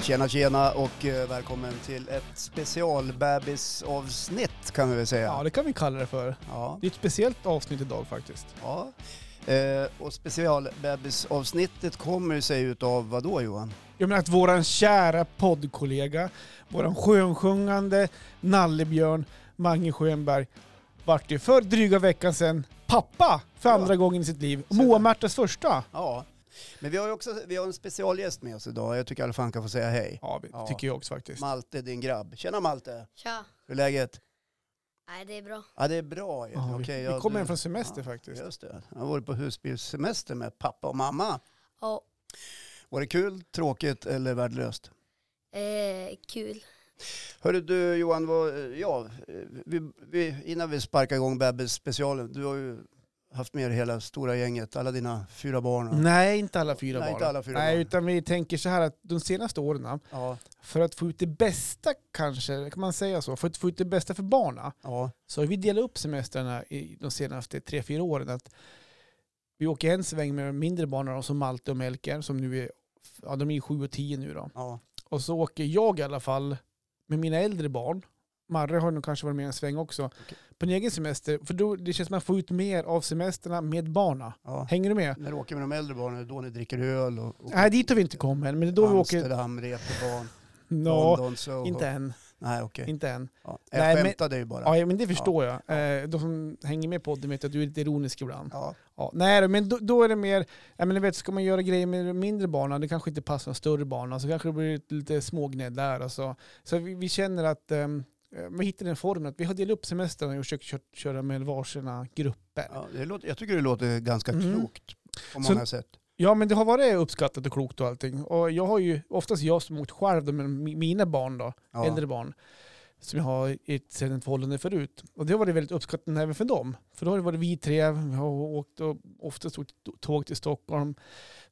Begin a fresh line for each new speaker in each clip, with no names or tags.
Tjena tjena och eh, välkommen till ett specialbebisavsnitt kan vi väl
Ja,
säga.
det kan vi kalla det för.
Ja.
Det är ett speciellt avsnitt idag faktiskt.
ja. Eh, och specialbebisavsnittet kommer sig utav vad då Johan?
Jag menar att våran kära poddkollega, våran skönsjungande nallebjörn Mange Schönberg, vart ju för dryga veckan sedan pappa för
Ja.
andra gången i sitt liv.
där.
Moa-Märtas första.
Ja. Men vi har ju också vi har en specialgäst med oss idag. Jag tycker i alla fall han kan få säga hej.
Ja, det
Ja.
tycker jag också faktiskt.
Malte, din grabb. Tjena Malte,
Tja.
hur är läget?
Nej, det är bra.
Ja det är bra ju.
Ja, vi,
Okej,
vi
ja,
kommer
du-
hem från semester
ja,
faktiskt.
Just det. Jag har varit på husbilssemester med pappa och mamma.
Ja,
Var det kul, tråkigt eller värdelöst?
eh, kul.
Hörru du Johan, vad, ja, vi, vi, innan vi sparkar igång bebisspecialen, du har ju haft med dig hela stora gänget, alla dina fyra barn. och-
Nej, inte alla fyra
Nej,
barn.
inte alla fyra
Nej,
barn.
utan vi tänker så här att de senaste åren,
Ja,
för att få ut det bästa kanske, kan man säga så, för att få ut det bästa för barna,
ja,
Så har vi delat upp semestrarna i de senaste tre, fyra åren. Att vi åker en sväng med mindre barn av dem, som Malte och Melker, som nu är, ja, de är 7 och 10 nu då.
ja,
Och så åker jag i alla fall med mina äldre barn. Marre har nog kanske varit med en sväng också. På en egen semester, för då det känns som att man får ut mer av semesterna med barna.
ja.
Hänger du med?
När du åker med de äldre barnen, då ni dricker öl och, och
Nej, dit har vi inte kommit än, men det är då vi åker...
Amsterdam, Reeperbahn,
Nå,
London, Soho.
inte än.
Nej, okej.
Inte än.
Ja. Jag
Nej, men-
skämtade ju bara.
Ja, men det förstår jag. Eh, De som hänger med på podden vet att du är lite ironisk ibland.
Ja,
Ja, nej, då, men då, då är det mer, ja, men du vet, ska man göra grejer med de mindre barnen, det kanske inte passar de större barnen, så kanske det blir ett- lite smågnäll där. Och så så vi, vi känner att ehm, eh, vi hittar den formen, att vi har delat upp semestrarna och försökt kö- köra med varsina grupper. Ja.
ja, det låter, jag tycker det låter ganska
Mm.
klokt på
Så-
många sätt.
men det har varit uppskattat och klokt och allting. Och jag har ju, oftast jag som åkt själv då, med mi- mina barn då,
Ja.
äldre barn, som jag har i ett sedan förhållande förut. Och det har varit väldigt uppskattat även för dem. För då har det varit vi tre, vi har åkt och oftast åkt tåg till Stockholm.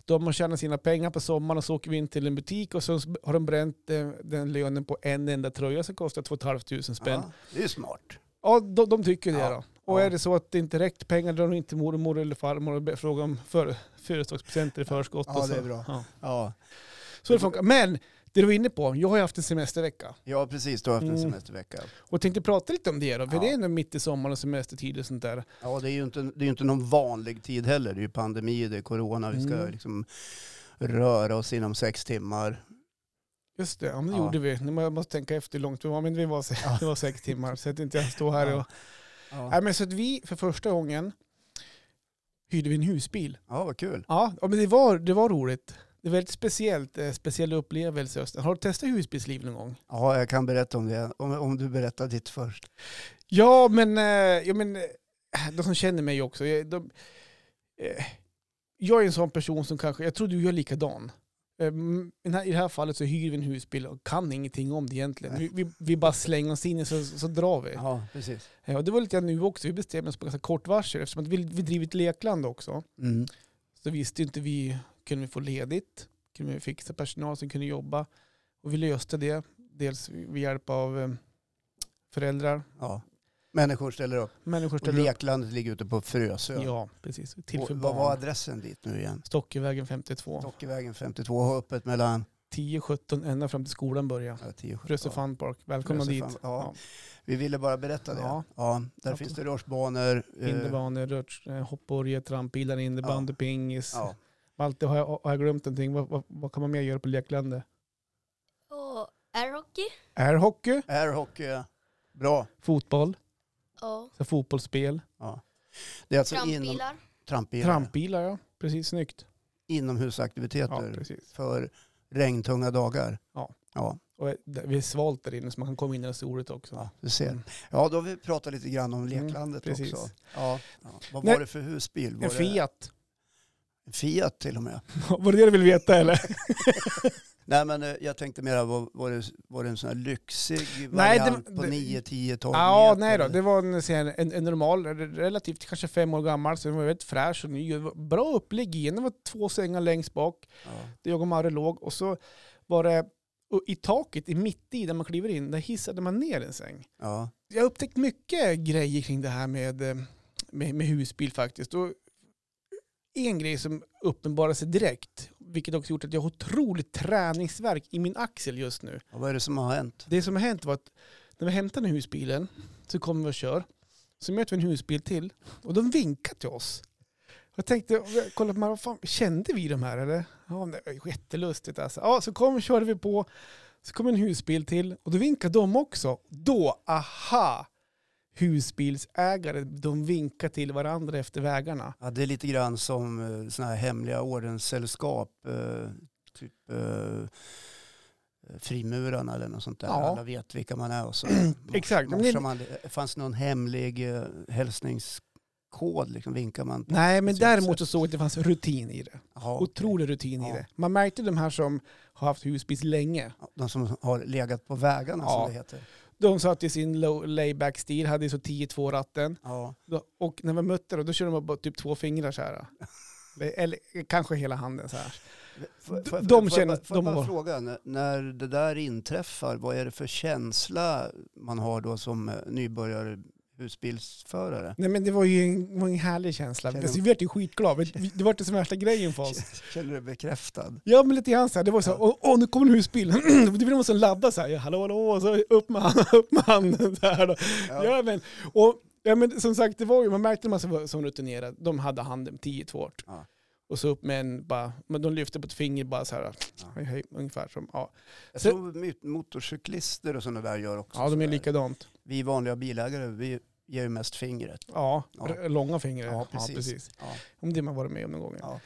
De har tjänat sina pengar på sommaren och så åker vi in till en butik och så har de bränt eh, den lönen på en enda tröja som kostar 2 500 spänn.
Ja, det är ju smart.
Ja, de, de tycker det
Ja.
då. Och
Ja.
är det så att det inte räckt pengar drar de inte till mormor eller farmor och be- frågar om för, födelsedagspresenter i förskott.
Ja,
och så.
det är bra.
Ja.
Ja,
Så det funkar. Men det du var inne på, jag har ju haft en semestervecka.
ja precis. Du har haft en
Mm.
semestervecka.
Och tänkte prata lite om det då, för
Ja.
det är ändå mitt i sommaren och semestertid och sånt där.
Ja, det är ju inte, det är ju inte någon vanlig tid heller. Det är ju pandemi, det är corona, vi ska
Mm.
liksom röra oss inom sex timmar.
Just det, ja, men det
Ja.
gjorde vi. Nu må- Jag måste tänka efter hur långt vi var, men vi var, se-
Ja.
det var sex timmar. Så att inte jag står här
Ja.
och...
Ja,
Nej, men så att vi för första gången hyrde vi en husbil.
ja vad kul.
Ja, ja, men det var, det var roligt. Det var väldigt speciellt, eh, speciell upplevelse. just det. Har du testat husbilsliv någon gång?
Ja, jag kan berätta om det. Om, om du berättar ditt först.
Ja, men, eh, ja, men eh, de som känner mig också. Jag, de, eh, jag är en sån person som kanske, jag tror du gör likadan. Eh, men här- I det här fallet så hyr vi en husbil och kan ingenting om det egentligen. Vi, vi, vi bara slänger oss in i så, så drar vi.
Ja, precis.
Ja, och det var lite grann nu också. Vi bestämde oss på ganska kort varsel eftersom att vi, vi drivit lekland också.
Mm.
Så visste ju inte vi, kunde vi få ledigt? Kunde vi fixa personal som kunde jobba? Och vi löste det, dels med hjälp av eh, föräldrar.
Ja. Människor ställer upp.
Människor
Och
ställer upp.
leklandet ligger ute på Frösö.
Ja, precis. Till
och,
för
vad var
barn.
adressen dit nu igen?
Stockevägen 52.
Dockevägen 52 har öppet mellan
10-17 ända fram till skolan börjar.
ja, 10 och 17.
Frösö Fun Park. Välkomna
Frösö
dit.
Fun- ja. Vi ville bara berätta det. Ja.
Ja.
där
Ja,
finns
på-
det rörsbanor. eh,
Hinderbanor, rörs- eh, hoppborgar, trampbilar, innebandy, pingis.
Ja.
Malte, har jag, har jag glömt någonting? Vad, vad, vad kan man mer göra på leklandet?
Och airhockey?
Airhockey,
Airhockey. eh, Bra.
fotboll,
Ja.
så fotbollsspel,
Det är alltså inom,
Trampbilar?
trampbilar.
trampbilar, ja. Precis, snyggt. Ja,
Inomhusaktiviteter.
precis.
för regntunga dagar.
Ja.
Ja,
Och eh, där- vi är svalt där inne så man kan komma in i det soligt också.
ja du ser.
Mm.
Ja, då har vi pratat lite grann om
Mm,
leklandet
precis.
också. Ja, ja. Vad
Nej.
var det för husbil? Var
En Fiat.
Det? Fiat till och med.
Var det det du ville veta eller?
Nej, men eh, jag tänkte mera, var, var, det, var det en sån här lyxig
Nej, det-
variant på
det-
9, 10, 12
Ja,
meter?
nej då. Det var en, så här, en, en normal, relativt kanske fem år gammal, så den var väldigt fräsch och ny. Det var Bra upplägg i den. Det var två sängar längst bak,
Ja.
där jag och Marre låg. Och så var det och i taket, i mitt i, där man kliver in, där hissade man ner en säng.
ja.
Jag har upptäckt mycket grejer kring det här med, eh, med, med husbil faktiskt. Och en grej som uppenbarar sig direkt, vilket också gjort att jag har otroligt träningsverk i min axel just nu.
Ja, vad är det som har hänt?
Det som har hänt var att när vi hämtade den här husbilen så kommer vi och kör. Så möter vi en husbil till och de vinkar till oss. Jag tänkte, jag kollade på mig, vad fan, kände vi de här eller? Ja, men det var jättelustigt alltså. Ja, så kom och körde vi på. Så kom en husbil till och då vinkade de också. Då, aha! Husbilsägare, de vinkar till varandra efter vägarna.
Ja, det är lite grann som eh, såna här hemliga ordenssällskap. Eh, typ eh, frimurarna eller något sånt där.
Ja.
Alla vet vilka man är och så
Exakt. Men det-
morsar man. Det Fanns någon hemlig eh, hälsningskod? Liksom vinkar man? på-
Nej, men
Precis, så.
däremot så såg jag att det fanns rutin i det.
Jaha,
Otrolig rutin i
Ja.
det. Man märkte de här som har haft husbil länge.
okej. De som har legat på vägarna
Ja.
som det heter.
De satt i sin low- layback-stil, hade ju så 10-2 ratten.
Ja.
Då- Och när vi mötte dem, då körde de bara typ två fingrar så här. Eller kanske hela handen så här.
Får-
De-
får-
de
får jag
känner-
bara- Får jag
de
bara
har-
fråga, n- när det där inträffar, vad är det för känsla man har då som eh, nybörjare husbilsförare?
Nej men det var ju en, var en härlig känsla.
Känner-
Alltså, vi vart ju skitglada. Vi- Det var inte som värsta grejen för oss.
Känner du dig bekräftad?
Ja men lite grann så här. Det var så här, åh, åh nu kommer en husbil. det blir någon som laddar så här, ja, hallå hallå, och så upp med handen, upp med handen. Så här då. Ja. men, och, ja, men som sagt, det var ju, man märkte de här som, var- som rutinerade, de hade handen 10-2 hårt.
Ja.
Och så upp med en, bara, men de lyfte på ett finger bara så här,
Ja.
hej, hej, ungefär som, ja.
Jag
Så-
tror my- motorcyklister och sådana där gör också
Ja, de är
sådär.
likadant.
Vi vanliga bilägare, vi ger ju mest fingret.
Ja,
Ja.
r- långa fingrar.
Ja, precis. Ja,
Om det man varit med om någon gång.
Ja.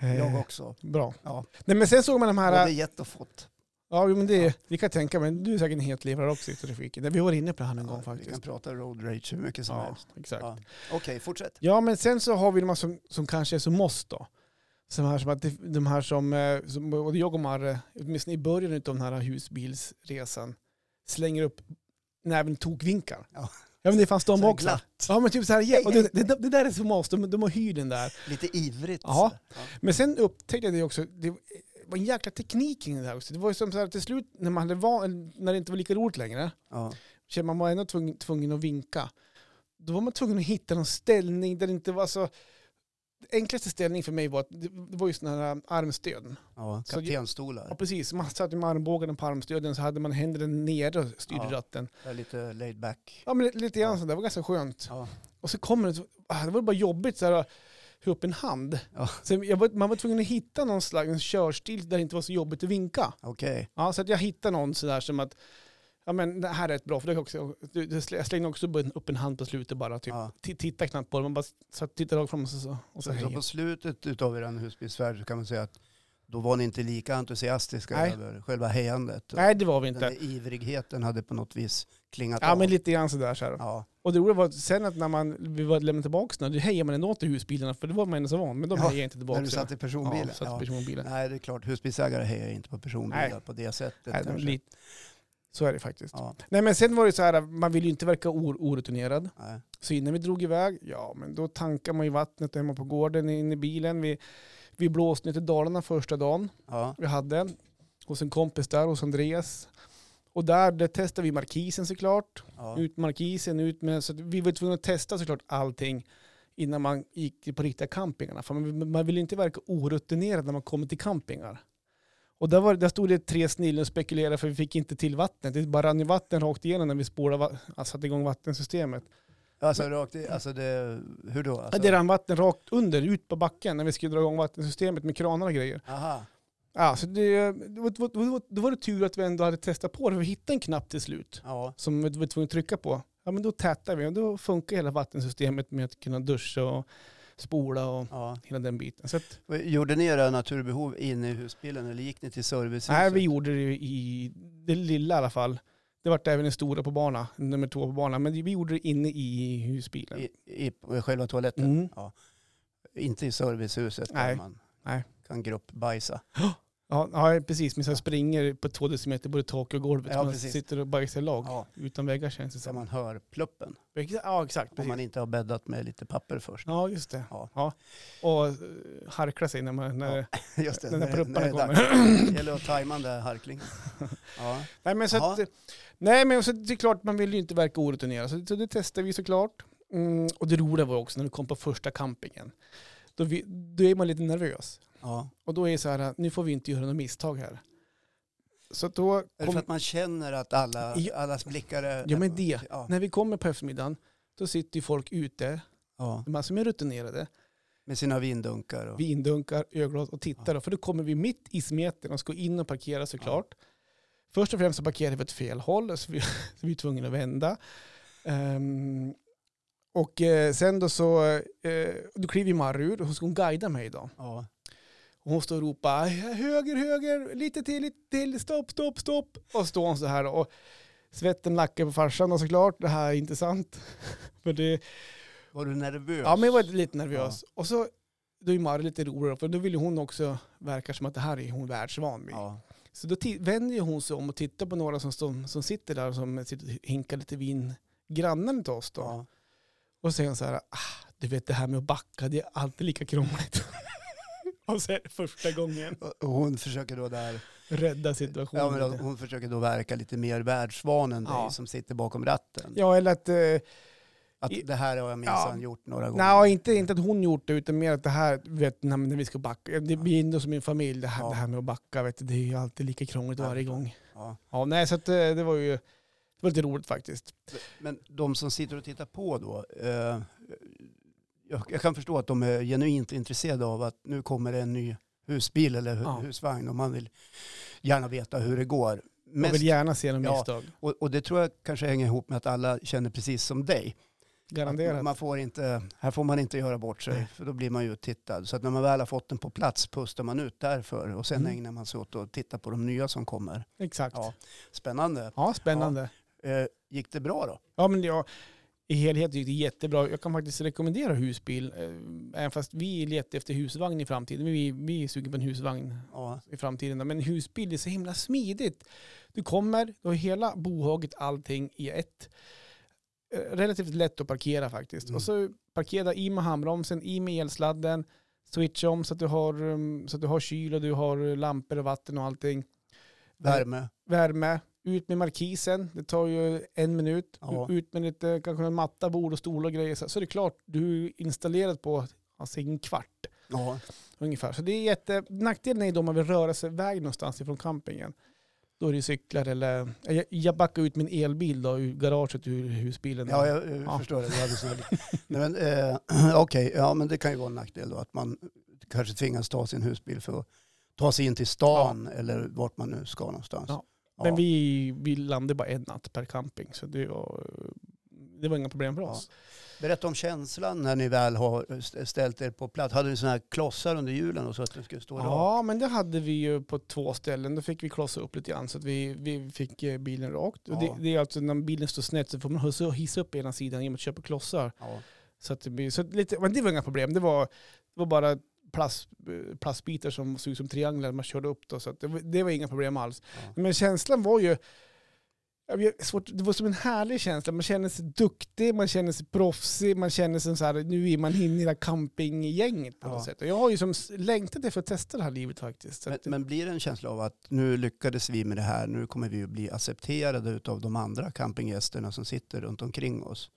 Eh,
jag också.
Bra.
Ja.
Nej, men sen såg man de
Ja,
här...
det är gett och fått.
Ja, jo, men det, vi kan tänka men du är säkert en helt levrad också i trafiken. Nej, Vi var inne på det här en gång
Ja, vi
faktiskt.
kan prata road rage hur mycket som
Ja,
helst.
exakt. Ja.
Ja. Okej, fortsätt.
men sen så har vi de här som, som kanske är som oss då. Som här, som att det- de här som, eh, som, både jag och Marre, åtminstone i början av den här husbilsresan, slänger upp näven tokvinkar.
Ja.
ja, men det fanns de
Så här
också.
glatt,
Ja, men typ så här, ja, och det, det, det där är som oss, de, de har hyrden där.
lite ivrigt.
Ja.
sådär.
Men sen upptäckte jag det också, det var en jäkla teknik kring det här också. Det var ju som så här till slut, när, man hade van, när det inte var lika roligt längre,
Ja.
så man var ändå tvungen, tvungen att vinka. Då var man tvungen att hitta någon ställning där det inte var så... Enklaste ställning för mig var att det det var ju sådana här armstöd.
Ja,
Så- Ja,
kaptenstolar.
precis. Man satt med armbågarna på armstöden så hade man händerna nere och styrde
Ja.
ratten.
Ja, Lite laid back.
Ja, men lite grann
Ja.
sådär. Det var ganska skönt.
Ja.
Och så kommer det, så- ah, det var bara jobbigt så här att få upp en hand.
Ja.
Så jag var, man var tvungen att hitta någon slags körstil där det inte var så jobbigt att vinka.
Okej,
Ja, så att jag hittade någon sådär som att, ja men det här är ett bra, för det är också, du- du- jag slängde också upp en- upp en hand på slutet bara, typ,
Ja.
T- titta knappt på det, man bara satt, tittade rakt fram och så, så, och så,
så, så
hej.
på slutet utav er husbilsfärd så kan man säga att då var ni inte lika entusiastiska
Nej.
över själva hejandet.
Nej det var vi
Den där
inte.
ivrigheten hade på något vis klingat
Ja
av.
men lite grann sådär så här.
Ja.
Och det roliga var att sen att när man, vi var lämnade tillbaka den, då hejade man ändå inte husbilarna för det var man ändå så van, men de
Ja,
hejade inte tillbaka.
När du satt i
ja,
personbilen.
satt
Ja.
i personbilen.
Nej, det är klart. Husbilsägare hejar inte på personbilar
Nej.
på det sättet.
Nej, det var
kanske.
lite, så är det faktiskt.
Ja,
Nej men sen var det så här, man vill ju inte verka or- orutinerad.
nej.
Så innan vi drog iväg, ja men då tankar man ju vattnet hemma på gården, in i bilen. Vi, vi blåste ner till Dalarna första dagen
Ja,
vi hade. Hos en kompis där, hos Andreas. Och där, där testade vi markisen såklart.
ja.
Ut markisen, ut med, så att vi var tvungna att testa såklart allting innan man gick till på riktiga campingarna. För man, man vill ju inte verka orutinerad när man kommer till campingar. Och där, var, där stod det tre snillen och spekulerade för vi fick inte till vattnet. Det bara rann ju vatten rakt igenom när vi spårade, va- alltså, satte igång vattensystemet.
Alltså, rakt i, alltså det, hur då?
Ja,
Alltså,
Det rann vatten rakt under, ut på backen, när vi skulle dra igång vattensystemet med kranar och grejer.
Alltså, Aha.
Ja, så det, det, var- det, var- då var det tur att vi ändå hade testat på det. Vi hittade en knapp till slut
Ja,
som vi var tvungna att trycka på. Ja, men då tätade vi och då funkar hela vattensystemet med att kunna duscha och spola och
ja.
hela den biten. Så att,
Och Gjorde ni era naturbehov inne i husbilen eller gick ni till servicehuset?
nej, vi gjorde det i det lilla i alla fall. Det vart även den stora på bana, nummer två på banan, men vi gjorde det inne i husbilen.
I, i, i själva toaletten?
Mm.
Inte i servicehuset
Nej.
där man
Nej.
kan gruppbajsa?
Ja, ja, precis. Men sen springer på två decimeter både tak och golvet.
Ja,
man
precis.
sitter och bajsar i lag.
Ja,
Utan väggar känns det
så
som.
man hör pluppen.
Exa- Ja, exakt.
Om
Precis.
man inte har bäddat med lite papper först.
Ja, just det. Ja.
Ja.
Och eh, harkla sig när man... När,
Just det,
Den där
när det- när
plupparna
det är dags. Det gäller att tajma den där harklingen. Ja.
Nej, men så att, eh,
Jaha.
nej, men så att det är klart, man vill ju inte verka orutinerad. Så, så det testade vi såklart. Mm, och det roliga var också när vi kom på första campingen. Då, vi, då är man lite nervös.
Ja.
Och då är det så här, eh, nu får vi inte göra några misstag här. Så att då,
Är det
kom,
för att man känner att alla,
Ja.
allas blickar är...
Ja, men det.
Ja,
när vi kommer på eftermiddagen, då sitter ju folk ute,
ja.
de här som är rutinerade,
Med sina vindunkar. Och,
vindunkar, ölglas och tittar. då, För då kommer vi mitt i smeten och ska in och parkera såklart. Först och främst så parkerar vi åt fel håll, så vi, så vi är tvungna att vända. Ehm, och eh, sen då så, eh, då kliver ju Marre ur, och så ska hon guida mig då.
ja.
Och hon står och ropar höger, höger, lite till, lite till, stopp, stopp, stopp. Och står hon så här och svetten lackar på farsan och såklart, det här är intressant. För det,
Var du nervös?
ja men jag var lite nervös. Och så, då är Mari lite rolig för då vill ju hon också verka som att det här är hon världsvan vid.
Ja.
Så då ti- vänder ju hon sig om och tittar på några som, som, som sitter där och som sitter och hinkar lite vin, grannen till oss då.
Ja.
Och sen så här, ah, du vet det här med att backa, det är alltid lika krångligt. och så är det första gången
Och- och Hon försöker då där...
rädda situationen.
Ja, men då- hon försöker då verka lite mer världsvan än
Ja.
dig som sitter bakom ratten.
Ja, eller att... Eh,
Att
I-
det här har jag minsann
Ja.
gjort några gånger.
nej, inte, inte att hon gjort det, utan mer att det här, du vet, när, när vi ska backa. Det blir ändå som min familj, det här,
Ja.
det här med att backa, vet du, det är ju alltid lika krångligt
Ja,
varje
jag förstår.
gång.
Ja.
Ja, nej, så att, eh, det var ju det var lite roligt faktiskt.
Men de som sitter och tittar på då, eh, jag, jag kan förstå att de är genuint intresserade av att nu kommer det en ny husbil eller hu-
Ja.
husvagn och man vill gärna veta hur det går.
Man
Mest,
vill gärna se några
Ja.
misstag,
och, och det tror jag kanske hänger ihop med att alla känner precis som dig.
garanterat.
Att Man får inte, här får man inte göra bort sig,
Nej.
för då blir man ju uttittad. Så att när man väl har fått den på plats pustar man ut därför och sen
Mm.
ägnar man sig åt att titta på de nya som kommer.
Exakt.
Ja.
Ja,
Spännande.
spännande. Ja.
Eh, gick det bra då?
men jag, i helhet gick det jättebra. Jag kan faktiskt rekommendera husbil, eh, även fast vi letar efter husvagn i framtiden. Vi, vi är sugna på en husvagn
Ja.
i framtiden. då. Men husbil är så himla smidigt. Du kommer, du har hela bohaget, allting i ett. Eh, Relativt lätt att parkera faktiskt.
Mm.
Och så parkera i med handbromsen, i med elsladden, switcha om så att du har, um, så att du har kyl och du har eh, lampor och vatten och allting. Eh,
Värme?
Värme, ut med markisen, det tar ju en minut.
Ja.
Ut med lite, kanske en matta, bord och stol och grejer. Så så är det klart, du är installerad på alltså, en kvart
Ja.
ungefär. Så det är jätte... Nackdelen är ju då om man vill röra sig iväg någonstans ifrån campingen. Då är det ju cyklar eller... Jag, jag backade ut min elbil då ur garaget ur husbilen.
Ja, jag, jag
Ja.
förstår det. Du hade sån här- Nej, men, eh, Okej, ja, men det kan ju vara en nackdel då att man kanske tvingas ta sin husbil för att ta sig in till stan eller vart man nu ska någonstans.
Ja. Men vi, vi landade bara en natt per camping så det var, det var inga problem för
Ja.
oss.
Berätta om känslan när ni väl har st- ställt er på plats. Hade ni sådana här klossar under hjulen och så att den skulle stå
Ja,
rakt?
men det hade vi ju på två ställen. Då fick vi klossa upp lite grann så att vi, vi fick eh, bilen rakt. Och
Ja.
det, det är alltså när bilen står snett så får man hissa- hissa upp ena sidan genom att köpa klossar.
Ja.
Så att det blir, så att lite, men det var inga problem. Det var, det var bara plast, eh, plastbitar som såg ut som trianglar man körde upp. Då, så att det, var- det var inga problem alls.
Ja.
Men känslan var ju, jag vet, svårt, det var som en härlig känsla. Man kände sig duktig, man kände sig proffsig, man kände sig så här, nu är man inne i det här campinggänget på något
Ja.
sätt. Och jag har ju som s- längtat efter att testa det här livet faktiskt. Så
Men,
att,
men blir det en känsla av att nu lyckades vi med det här, nu kommer vi att bli accepterade av de andra campinggästerna som sitter runt omkring oss?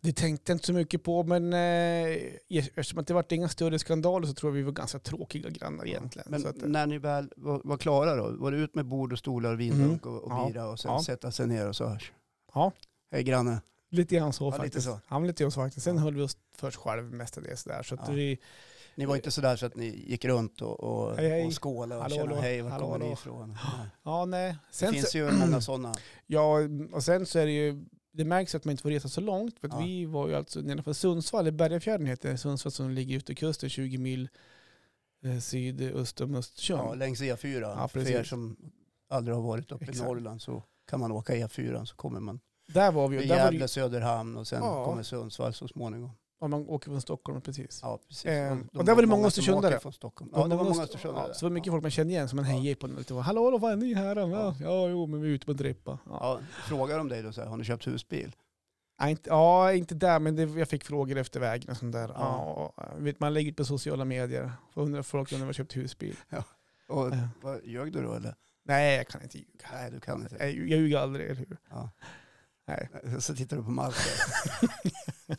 Det tänkte jag inte så mycket på, men eh, eftersom att det varit inga större skandaler så tror jag vi var ganska tråkiga grannar egentligen.
Men
så att, eh,
när ni väl var, var klara då? Var det ut med bord och stolar, vindunk och, och
Mm. Ja.
bira och sen
Ja.
sätta sig ner och så hörs?
Ja.
Hej granne.
Lite grann så
Ja, lite
faktiskt.
så.
Ja, men lite så faktiskt. Sen
Ja.
höll vi oss först själv mestadels där. Så att
Ja.
vi,
Ni var inte sådär så att ni gick runt och, och,
Hej, hej.
och skålade och
Hallå,
kände
hallå.
hej, var
Hallå,
kommer ni
hallå."
ifrån?
ja, nej.
Det
Sen
finns
så,
ju många sådana.
ja, och sen så är det ju, det märks att man inte får resa så långt. För att
Ja.
vi var ju alltså nedanför Sundsvall, i Bergafjärden heter det, Sundsvall som ligger ute i kusten 20 mil eh, sydöst om Östersund.
Ja, längs E4.
Ja,
För
precis.
er som aldrig har varit uppe i
Exakt.
Norrland så kan man åka E4 så kommer man
där var vi ju.
vid
Där var det,
Gävle,
ju-
Söderhamn och sen
Ja.
kommer Sundsvall så småningom.
om man åker från Stockholm, precis.
Ja, precis.
Ehm,
de-
och där var det
som
många
åker
östersundare.
från Stockholm. Ja, det var många östersundare.
Ja, så det var mycket
Ja.
folk man kände igen som man
Ja.
hejade på. när man lite var, Hallå, hallå, vad är ni här?
Ja.
Ja, ja jo, men vi är ute på en drippa. Ja.
Ja, frågar de dig då så här, har ni köpt husbil?
Ja, inte, ja, inte där, men det, jag fick frågor efter vägen och sånt där. Ja. vet, man lägger ut på sociala medier. Får undra folk undrar var jag köpt husbil.
Och
Eh,
vad, ljög du då eller?
Nej, jag kan inte ljuga.
Nej, du kan inte. Eh,
Jag, jag ljuger aldrig, eller hur? Nej.
Så tittar du på Malte.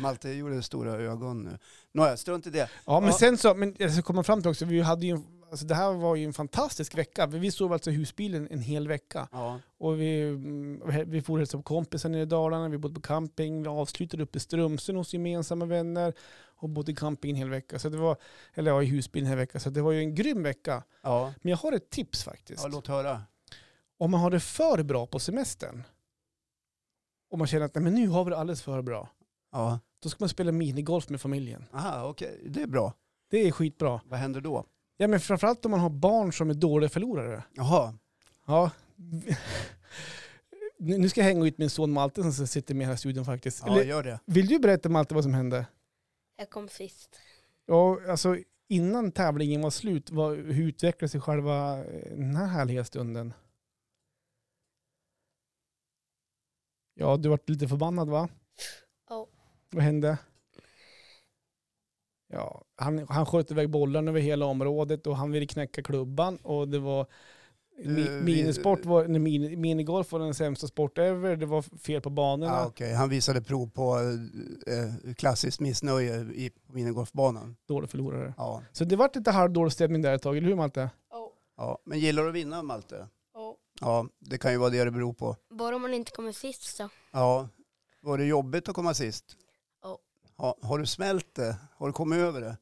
Malte gjorde stora ögon nu. Nåja, strunt i det.
Ja, men
Ja.
sen så, men jag ska komma fram till också, vi hade ju, en- alltså det här var ju en fantastisk vecka. Vi sov alltså i husbilen en hel vecka.
Ja,
Och vi, mm, vi for och hälsade på kompisar nere i Dalarna, vi bodde på camping, vi avslutade uppe i Strömsen hos gemensamma vänner och bodde i camping en hel vecka. Så det var, eller ja, i husbilen en hel vecka. Så det var ju en grym vecka.
ja.
Men jag har ett tips faktiskt.
ja låt höra.
Om man har det för bra på semestern, om man känner att nej, men nu har vi det alldeles för bra,
Ja,
då ska man spela minigolf med familjen.
Aha, okej. Det är bra.
Det är skitbra.
Vad händer då?
Ja, men framförallt om man har barn som är dåliga förlorare.
Jaha,
Ja. Nu nu ska jag hänga ut min son Malte som sitter med här i studion faktiskt.
ja,
Eller,
gör det.
vill du berätta Malte vad som hände?
Jag kom sist.
Ja, alltså innan tävlingen var slut, vad, hur utvecklade sig själva eh, den här härliga stunden? Ja, du vart lite förbannad va?
Ja.
Vad hände? Ja, han, han sköt iväg bollen över hela området och han ville knäcka klubban och det var mi,
Eh, vi-
minisport var, nej, mini, minigolf var den sämsta sport ever, det var fel på banorna.
Ah, okej. Han visade prov på eh, klassiskt missnöje i på minigolfbanan.
Dålig förlorare.
Ja,
Så det vart lite halvdålig stämning där ett tag, eller hur Malte?
Ja.
ja. Men gillar du att vinna, Malte?
Ja.
Ja, det kan ju vara det det beror på.
Bara om man inte kommer sist så.
Ja, var det jobbigt att komma sist?
Ja.
Ha, har du smält det? Har du kommit över det?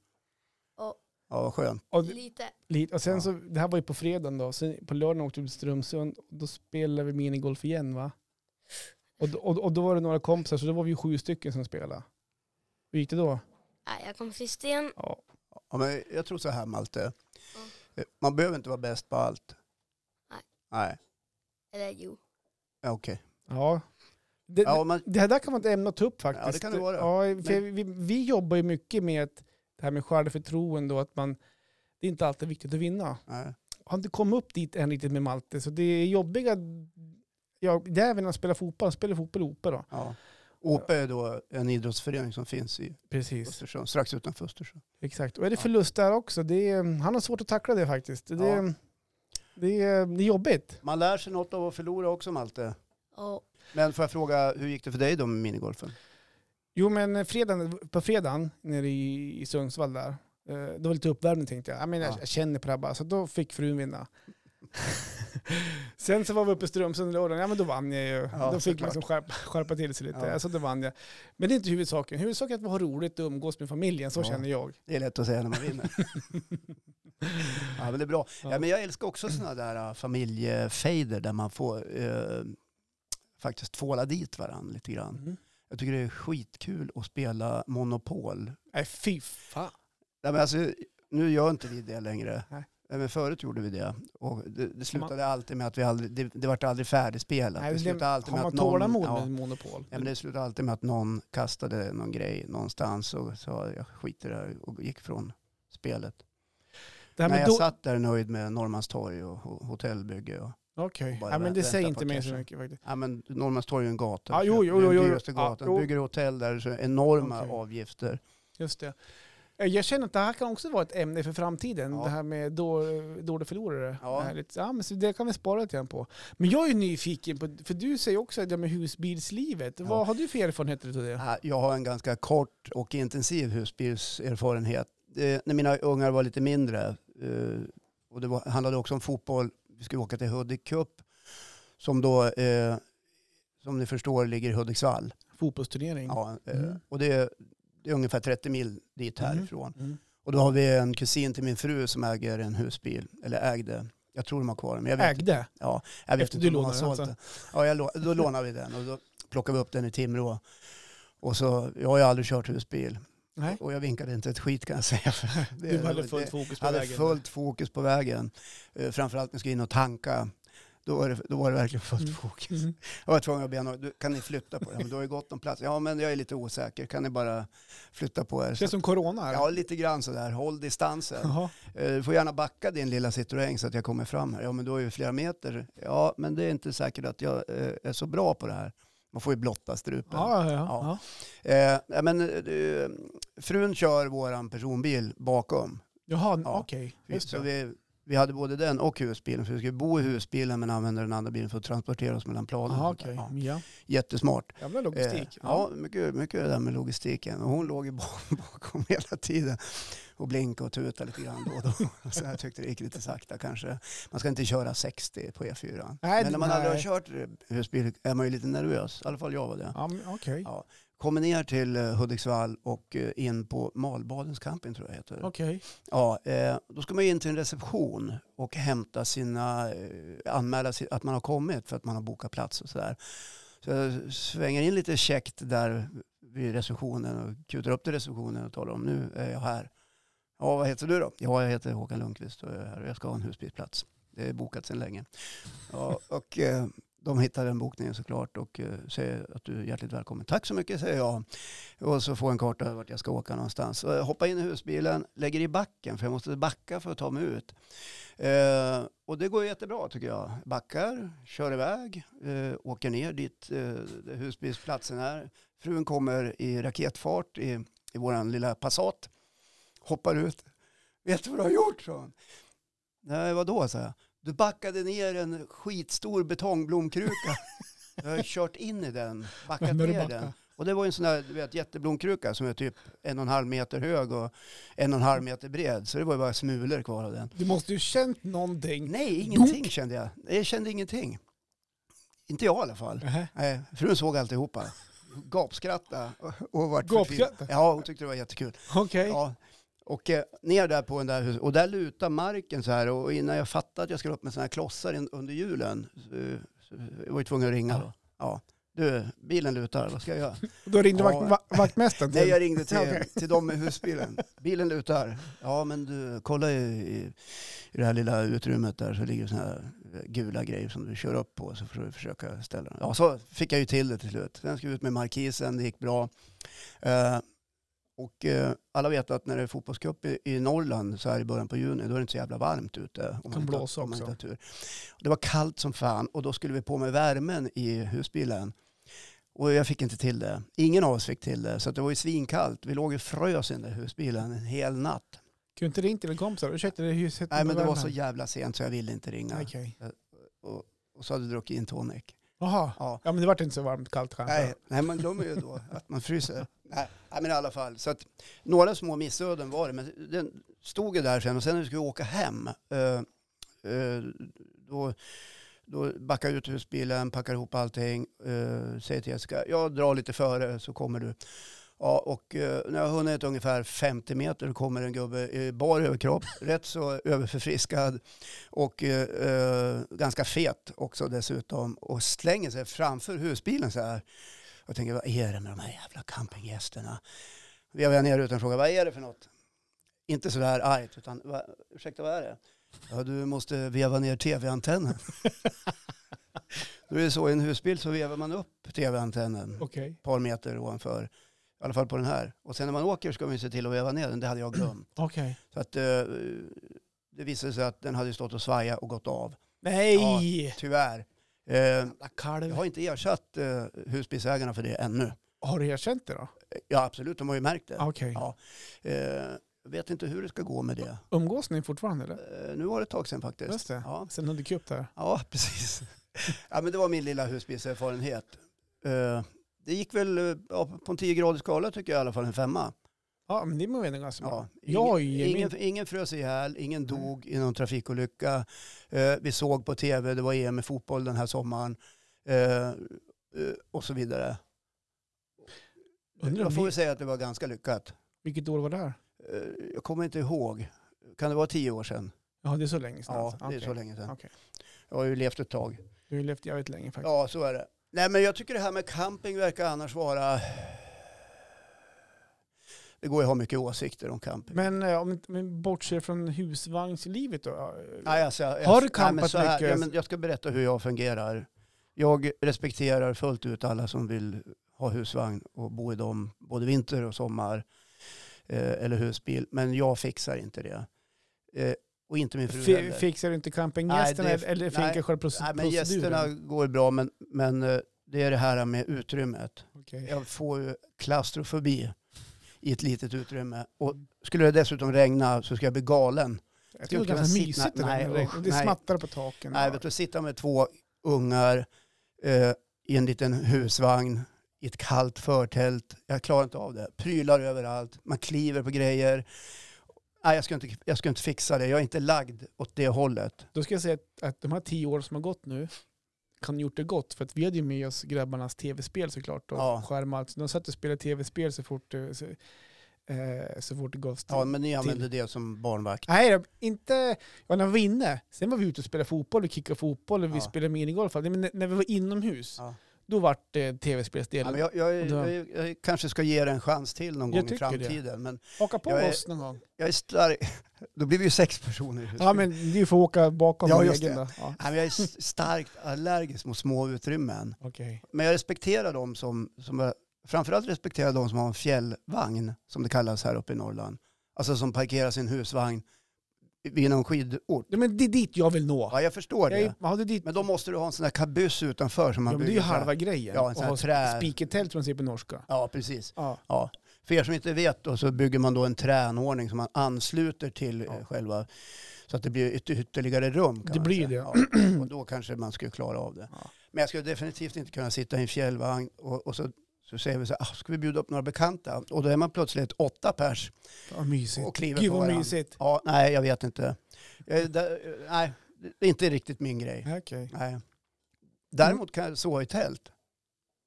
Ja.
Ja, vad skönt.
Och det-
Lite.
Lite. Och sen
Ja.
så, det här var ju på fredagen då, sen på lördagen åkte vi till Strömsund, och då spelade vi minigolf igen va? Och, då- och, och då var det några kompisar, så då var vi ju sju stycken som spelade. Hur gick det då?
Nej, jag kom sist igen.
Ja.
Ja, men jag tror så här, Malte. Eh, Man behöver inte vara bäst på allt.
Nej.
Nej,
Eller jo.
ja, okej.
ja. Det,
Ja, man,
det här där kan vara ett ämne att ta upp faktiskt.
Ja, det kan det vara.
Ja, för vi, vi jobbar ju mycket med att det här med självförtroende och att man, det är inte alltid viktigt att vinna.
nej.
Jag har inte kommit upp dit än riktigt med Malte, så det är jobbiga, ja, det är även när han spelar fotboll, han spelar fotboll i Ope då.
Ja. OPE är då en idrottsförening som finns i
Precis.
Östersund, strax utanför Östersund.
Exakt, och är det
Ja.
förlust där också, det är, han har svårt att tackla det faktiskt. Det,
Ja.
det, är, det är jobbigt.
Man lär sig något av att förlora också, Malte.
Ja.
Men får jag fråga, hur gick det för dig då med minigolfen?
Jo men fredagen, på fredagen nere i, i Sundsvall där, eh, det var lite uppvärmning tänkte jag. Jag, menar,
Ja.
jag känner på det här bara, så då fick frun vinna. Sen så var vi uppe i Strömsund lördagen, ja men då vann jag ju.
Ja,
då fick man
såklart.
liksom skärpa, skärpa till sig lite,
Ja.
alltså då vann jag. Men det är inte huvudsaken, huvudsaken är att vi har roligt och umgås med familjen, så
Ja.
känner jag.
Det är lätt att säga när man vinner. ja, men det är bra. Ja,
Ja.
men jag älskar också sådana där äh, familjefejder där man får eh, faktiskt tvåla dit varandra lite grann.
Mm.
Jag tycker det är skitkul att spela Monopol.
Nej fy fan.
Nej, men alltså, nu gör inte vi det längre.
Nej.
Nej, Men förut gjorde vi det. Och det, det slutade alltid med att vi aldrig, det, det vart aldrig färdigspelat.
Nej,
det
det-
slutade alltid
Har
med
man
att någon,
tålamod
ja,
med monopol?
ja, men det slutade alltid med att någon kastade någon grej någonstans och sa jag skiter i det här och gick från spelet.
Det här med
Nej, jag
då-
satt där nöjd med Norrmalmstorg och ho- hotellbygge. Och,
Okej,
Bara
ja, men det
vänta
säger
på
inte mig så
cashen.
mycket faktiskt.
ja, men Norrmalmstorg är en gata.
Ja,
så
Ah, jo,
det är
jo,
den
jo, jo.
dyraste
Ja,
gatan.
jo.
Bygger hotell där så är det enorma
Okej.
avgifter.
Just det. Eh, Jag känner att det här kan också vara ett ämne för framtiden,
Ja.
det här med då- dålig förlorare.
Ja.
Det, här lite, ja, men så det kan vi spara lite grann på. Men jag är nyfiken på, för du säger också att det med husbilslivet,
Ja.
vad har du för erfarenheter av det?
Ja, Ah, Jag har en ganska kort och intensiv husbilserfarenhet. Eh, när mina ungar var lite mindre, eh, och det var, handlade också om fotboll, vi skulle åka till Hudik Cup, som då, eh, som ni förstår, ligger i Hudiksvall.
Fotbollsturnering?
Ja, eh,
Mm.
Och det är, det är ungefär 30 mil dit
Mm.
härifrån.
Mm.
Och då har vi en kusin till min fru som äger en husbil, eller ägde. Jag tror de har kvar den, men jag vet,
Ägde?
jag vet
efter
inte
du
om de har
lånade den,
sålt den. Ja, jag, lå- då lånar vi den och då plockar vi upp den i Timrå. Och så, jag har ju aldrig kört husbil.
Nej.
Och jag vinkade inte ett skit kan jag säga. för det-
Du hade
det-
fullt fokus på
jag hade
vägen?
fullt fokus på vägen. Eh, Framförallt när jag skulle in och tanka. Då var det, då var det verkligen fullt
Mm.
fokus.
Mm.
Jag var tvungen att be någon, "Du, kan ni flytta på det? Men du har ju gott om plats. Ja, men jag är lite osäker. Kan ni bara flytta på er?
Det är som corona? här.
Ja, lite grann sådär. Håll distansen.
Jaha.
Eh, Du får gärna backa din lilla Citroën så att jag kommer fram här. Ja, men då är ju flera meter. Ja, men det är inte säkert att jag eh, är så bra på det här. Man får ju blotta strupen.
Ja, ja, ja.
Ja.
ja.
Eh, nej, men, eh, frun kör våran personbil bakom.
Jaha,
Ja.
okej.
Vi-
Just
Så
det.
vi vi hade både den och husbilen. För vi skulle bo i husbilen men använda den andra bilen för att transportera oss mellan planen.
Jaha,
och sånt
okej.
där.
Ja.
Ja, jättesmart.
Jävla logistik.
Eh, ja, mycket, mycket det där med logistiken. Och hon låg ju bak- bakom hela tiden och blinkade och tutade lite grann då och då. Så jag tyckte det gick lite sakta kanske. Man ska inte köra 60 på E4.
Nej,
Men när man
nej.
aldrig har kört eh, husbil är man ju lite nervös. I alla fall jag var det.
Ja, men Okej.
Ja. Kommer ner till eh, Hudiksvall och eh, in på Malbadens camping tror jag heter.
Okej.
Ja, eh, då ska man in till en reception och hämta sina, eh, anmäla si- att man har kommit för att man har bokat plats och sådär. Så jag svänger in lite käckt där vid receptionen och kutar upp till receptionen och talar om nu är jag här. Ja, vad heter du då? Ja, jag heter Håkan Lundqvist och jag är här och jag ska ha en husbilplats. Det är bokat sedan länge. Ja, och eh, de hittar den bokningen såklart och eh, säger att du är hjärtligt välkommen. Tack så mycket säger jag. Och så får jag en karta över vart jag ska åka någonstans. Så jag hoppar in i husbilen, lägger i backen för jag måste backa för att ta mig ut. Eh, och det går jättebra tycker jag. Backar, kör iväg, eh, åker ner dit eh, där husbilsplatsen är. Frun kommer i raketfart i, i vår lilla Passat. Hoppar ut. Vet du vad du har gjort? sa hon. Nej, vadå? sa jag. Du backade ner en skitstor betongblomkruka. jag har kört in i den, backat
Men när du
ner
backar.
den. Och det var ju en sån där du vet, jätteblomkruka som är typ en och en halv meter hög och en och en halv meter bred. Så det var ju bara smulor kvar av den.
Du måste ju känt någonting.
Nej, ingenting kände jag. Jag kände ingenting. Inte jag i alla fall.
Nähä.
Nej, frun såg alltihopa. Gapskratta och, och vart
Gapskratta?
förtvivlad. Ja, hon tyckte det var jättekul.
Okej.
Ja. Och eh, ner där på den där hus- och där lutar marken så här och innan jag fattade att jag skulle upp med sådana här klossar in, under hjulen så, så, jag var ju tvungen att ringa då. Ja. Du, bilen lutar, vad ska jag göra?
Då ringde
Ja.
vakt, va, vaktmästaren till
Nej, jag ringde till,
Okej.
till dem med husbilen. Bilen lutar. Ja, men du, kolla i, i det här lilla utrymmet där så ligger sådana här gula grejer som du kör upp på så får du försöka ställa den. Ja, så fick jag ju till det till slut. Sen ska vi ut med markisen, det gick bra. Eh, och eh, alla vet att när det är fotbollscup i, i Norrland så här i början på juni, då är det inte så jävla varmt ute. Om
kan
inte-
blåsa
om man
också.
inte har tur. Det var kallt som fan och då skulle vi på med värmen i husbilen. Och jag fick inte till det. Ingen av oss fick till det. Så att det var ju svinkallt. Vi låg och frös i den där husbilen en hel natt.
Kunde inte ringt till en kompis? Ursäkta, det är huset.
Nej men det var så
jävla...
jävla sent så jag ville inte ringa.
Okej.
Och så hade jag druckit in tonic.
Jaha.
Ja.
Ja, men det vart inte så varmt kallt kanske.
Nej, nej, man glömmer ju då att man fryser. Nej, nej, men i alla fall. Så att, några små missöden var det, men den stod ju där sen och sen när vi skulle åka hem, eh, eh, då, då backar jag ut ur husbilen, packar ihop allting, eh, säger till Jessica, jag drar lite före så kommer du. Ja, och eh, när jag har hunnit ungefär 50 meter kommer en gubbe i bar överkropp, rätt så överförfriskad och eh, eh, ganska fet också dessutom och slänger sig framför husbilen så här. Jag tänker, vad är det med de här jävla campinggästerna? Jag var ner utan och frågade, vad är det för något? Inte så där argt, utan va, ursäkta, vad är det? Ja, du måste veva ner tv-antennen. Då är det så, i en husbil så vevar man upp tv-antennen
Okej.
ett par meter ovanför. I alla fall på den här. Och sen när man åker ska man ju se till att veva ner den. Det hade jag glömt.
Okej.
Så att eh, det visade sig att den hade stått och svajat och gått av.
Nej!
Tyvärr. Eh,
Jävla kalv.
jag har inte ersatt eh, husbilsägarna för det ännu.
Har du erkänt det då?
Ja absolut, de har ju märkt det.
Okej.
Ja. Eh, jag vet inte hur det ska gå med det.
Umgås ni fortfarande eller?
Eh, nu var det ett tag sedan faktiskt.
Just det.
Ja.
Sen hon dök upp där.
Ja, precis. Ja, men det var min lilla husbilserfarenhet. Eh, det gick väl eh, ja, på en 10-gradig skala tycker jag i alla fall en femma.
Ja, men det var väl ändå ganska bra.
Ja,
Jag är
ingen,
ju
ingen, ingen frös ihjäl, ingen
Nej.
dog i någon trafikolycka. Eh, vi såg på tv, det var EM i fotboll den här sommaren. Eh, eh, och så vidare.
Undrar om
jag får
vi-
väl säga att det var ganska lyckat.
Vilket år var det här?
Eh, jag kommer inte ihåg. Kan det vara tio år sedan?
Ja, det är så länge sedan.
Ja,
alltså.
det är så
Okej.
länge sedan.
Okej.
Jag har ju levt ett tag.
Du har ju levt jävligt länge faktiskt.
Ja, så är det. Nej, men jag tycker det här med camping verkar annars vara... Det går ju att ha mycket åsikter om camping.
Men eh, om vi bortser från husvagnslivet då? eh,
Nej, alltså, jag,
Har du
nej,
campat
men så här,
mycket?
Ja, men jag ska berätta hur jag fungerar. Jag respekterar fullt ut alla som vill ha husvagn och bo i dem både vinter och sommar eh, eller husbil. Men jag fixar inte det. Eh, och inte min fru
Fi-
heller.
fixar du inte campinggästerna
Nej, det- nej.
eller finkar själva proce-
Nej, men gästerna
proceduren?
går bra, men, men eh, det är det här med utrymmet.
Okej.
Jag får ju klaustrofobi i ett litet utrymme. Och skulle det dessutom regna så ska jag bli galen. Skulle
Jag tycker det var
kunna
ganska
sitta-
mysigt det
nej,
där med regn.
usch,
Det
nej.
smattrar på taken.
Nej, vet du, sitta med två ungar eh, i en liten husvagn i ett kallt förtält. Jag klarar inte av det. Prylar överallt, man kliver på grejer. Nej, jag skulle inte, jag skulle inte fixa det. Jag är inte lagd åt det hållet.
Då ska jag säga att, att de här tio åren som har gått nu kan gjort det gott för att vi hade ju med oss grabbarnas tv-spel såklart och
Ja.
skärm och allt. Så de satt och spelade tv-spel så fort, det- så, eh, så fort det gavs tid.
Ja, men ni använde det som barnvakt.
Nej, då, inte ja, när vi var inne. Sen var vi ute och spelade fotboll, vi kickade fotboll och vi
Ja.
spelade minigolf. Men när- när vi var inomhus,
Ja.
då var det
Ja,
tv-spelsdelen.
men jag, jag, är-
Och då-
jag, är- jag kanske ska ge er en chans till någon
Jag
gång i
tycker det.
framtiden. Men
Haka på
jag är-
oss någon gång.
jag är stark. Då blir vi ju sex personer i
Ja,
husbil.
men du får åka bakom
Ja,
din
just
egen
det.
då. Ja,
Nej, men jag är s- starkt allergisk mot små utrymmen.
okej.
Men jag respekterar de som, som jag, framförallt respekterar de som har en fjällvagn, som det kallas här uppe i Norrland. Alltså som parkerar sin husvagn vid någon skidort.
Ja, men det är dit jag vill nå.
Ja, jag förstår
Jag är,
det.
ja, det är dit
Men då måste du ha en sån där kabyss utanför som man
Ja, men det är ju
bygger. så här.
halva grejen.
Ja, en sån här
och
trä-
spikertält som man säger på norska.
Ja, precis.
Ja.
Ja. För er som inte vet då, så bygger man då en tränordning som man ansluter till eh,
Ja.
själva så att det blir yt- ytterligare rum. Kan
Det
man
blir
säga. Ja. Och då kanske man skulle klara av det.
Ja.
Men jag skulle definitivt inte kunna sitta i en fjällvagn och, och så, så säger vi så här, ah, ska vi bjuda upp några bekanta? Och då är man plötsligt åtta pers.
Vad mysigt.
Och kliver
Gud
på
vad
varandra.
mysigt.
Ja, nej, jag vet inte. Jag är där, eh, nej, det är inte riktigt min grej.
Ja, Okej.
Nej. Däremot kan jag sova i tält.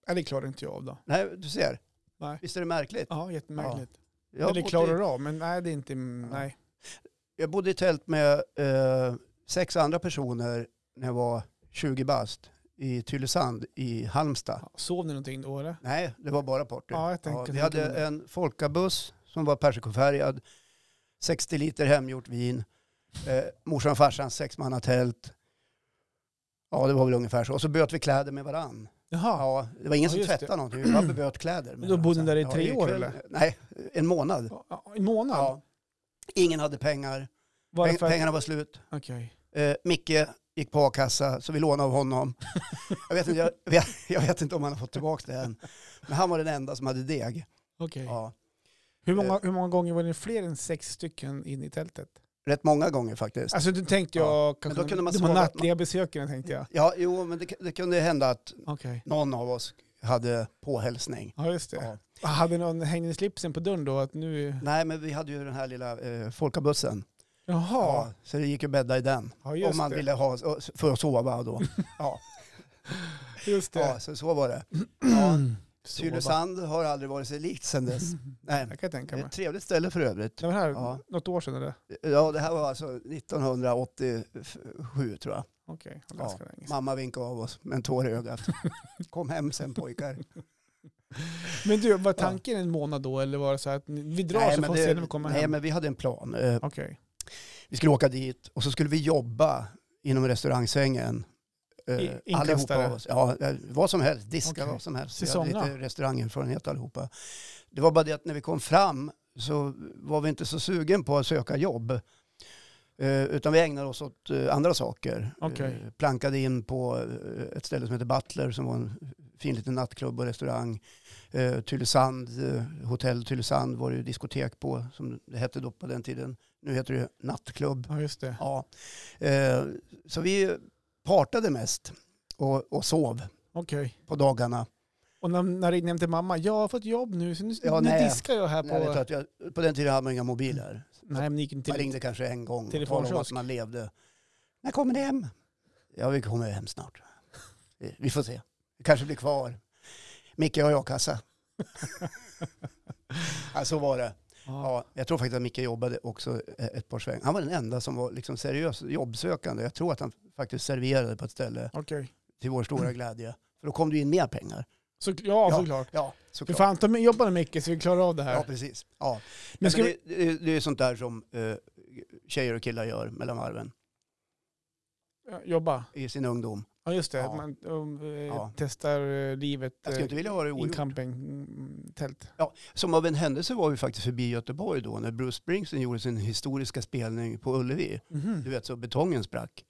Ja, det klarar inte jag av då.
Nej, du ser.
Nej.
Visst är det märkligt?
Ja, jättemärkligt.
Jag har
Eller
bott i-
klarar du av, men nej det är inte... Nej.
Jag bodde i tält med eh, sex andra personer när jag var 20 bast i Tylösand i Halmstad.
Ja, Sov ni någonting då eller?
Nej, det var bara party.
Ja, jag tänker-
vi hade
tänker mig.
en folkabuss som var persikofärgad, 60 liter hemgjort vin, eh, morsan och farsans sexmannatält. Ja, det var väl ungefär så. Och så böt vi kläder med varann.
Jaha.
Ja, det var ingen
Ja,
som
just det.
tvättade någonting, vi bara böt kläder. med
Då bodde
varandra.
ni där i
Ja,
tre år,
kväll-
eller?
Nej, en månad.
Ja. I månad?
Ja. Ingen hade pengar,
Var det
Peng-
för att-
pengarna var slut.
Okej.
Eh, Micke gick på a-kassa, så vi lånade av honom. Jag vet, inte, jag, vet, jag vet inte om han har fått tillbaka det än. Men han var den enda som hade deg.
Okej.
Ja, Eh.
Hur, många, hur många gånger var ni fler än sex stycken in i tältet?
rätt många gånger faktiskt.
Alltså du tänkte jag kanske...
då kunde man
de här
sova-
nattliga besökarna tänkte jag.
Ja, jo, men det, det kunde hända att
Okej.
någon av oss hade påhälsning.
Ja just det.
Ja.
Hade någon hängde slipsen på dörren då? Att nu...
Nej, men vi hade ju den här lilla eh, folkabussen.
Jaha.
Ja, så det gick ju att bädda i den.
Ja, just
om man
det.
ville ha, för att sova då. ja,
Just det.
ja, så så var det. Ja,
Så bara-
Tylösand har aldrig varit sig likt sedan dess. Nej,
Jag kan tänka
det är
mig.
ett trevligt ställe för övrigt.
Det var här
Ja.
något år sedan eller?
Ja, det här var alltså 1987 tror jag.
Okej,
Ja.
ganska länge sedan.
Mamma vinkade av oss med en tår i ögat. Kom hem sen pojkar.
Men du, var tanken en månad då eller var det så här att ni- vi drar så får vi se när vi kommer
nej
hem?
men vi hade en plan. Eh,
Okej.
Vi skulle åka dit och så skulle vi jobba inom restaurangsvängen. Eh,
I-
allihopa
inkastare?
av oss. Ja, eh, vad som helst. Diska
Okej.
vad som helst. Vi hade
Säsonga?
lite restaurangerfarenhet allihopa. Det var bara det att när vi kom fram så var vi inte så sugen på att söka jobb. Eh, utan vi ägnade oss åt eh, andra saker.
Okej.
Eh, plankade in på eh, ett ställe som heter Butler som var en fin liten nattklubb och restaurang. Eh, Tylösand, eh, hotell Tylösand var det ju diskotek på som det hette då på den tiden. Nu heter det nattklubb.
Ja, just det.
Ja. Eh, så vi partade mest och, och sov
Okej.
på dagarna.
Och när, när det nämnde mamma, jag har fått jobb nu så nu,
Ja,
nu
nej.
diskar jag här på...
Nej,
Nej,
vet du, att jag, på den tiden hade man inga mobiler.
men ni gick inte
Man
till...
ringde kanske en gång och talade om
Telefonkiosk.
att man levde. När kommer ni hem? Ja, vi kommer hem snart. Vi- Vi får se. Vi kanske blir kvar. Micke har ju a-kassa. ja, så var det.
Ja.
Ja, jag tror faktiskt att Micke jobbade också eh, ett par sväng. Han var den enda som var liksom seriös jobbsökande. Jag tror att han faktiskt serverade på ett ställe
Okej.
till vår stora glädje. För då kom det in mer pengar.
Så, ja,
Ja,
såklart.
Ja,
För
såklart.
fan, ta med, jobba med mycket så vi klarar av det här.
Ja, precis. Ja.
men
Men
ska vi...
det, det, det är sånt där som eh, tjejer och killar gör mellan varven
ja, jobba?
i sin ungdom.
Ja, just det.
Ja.
Man um, eh,
Ja.
testar eh, livet
Jag skulle inte vilja ha det
eh, mm, in
ogjort.
camping-tält.
Som av en händelse var vi faktiskt förbi Göteborg då när Bruce Springsteen gjorde sin historiska spelning på Ullevi. Du vet så betongen sprack.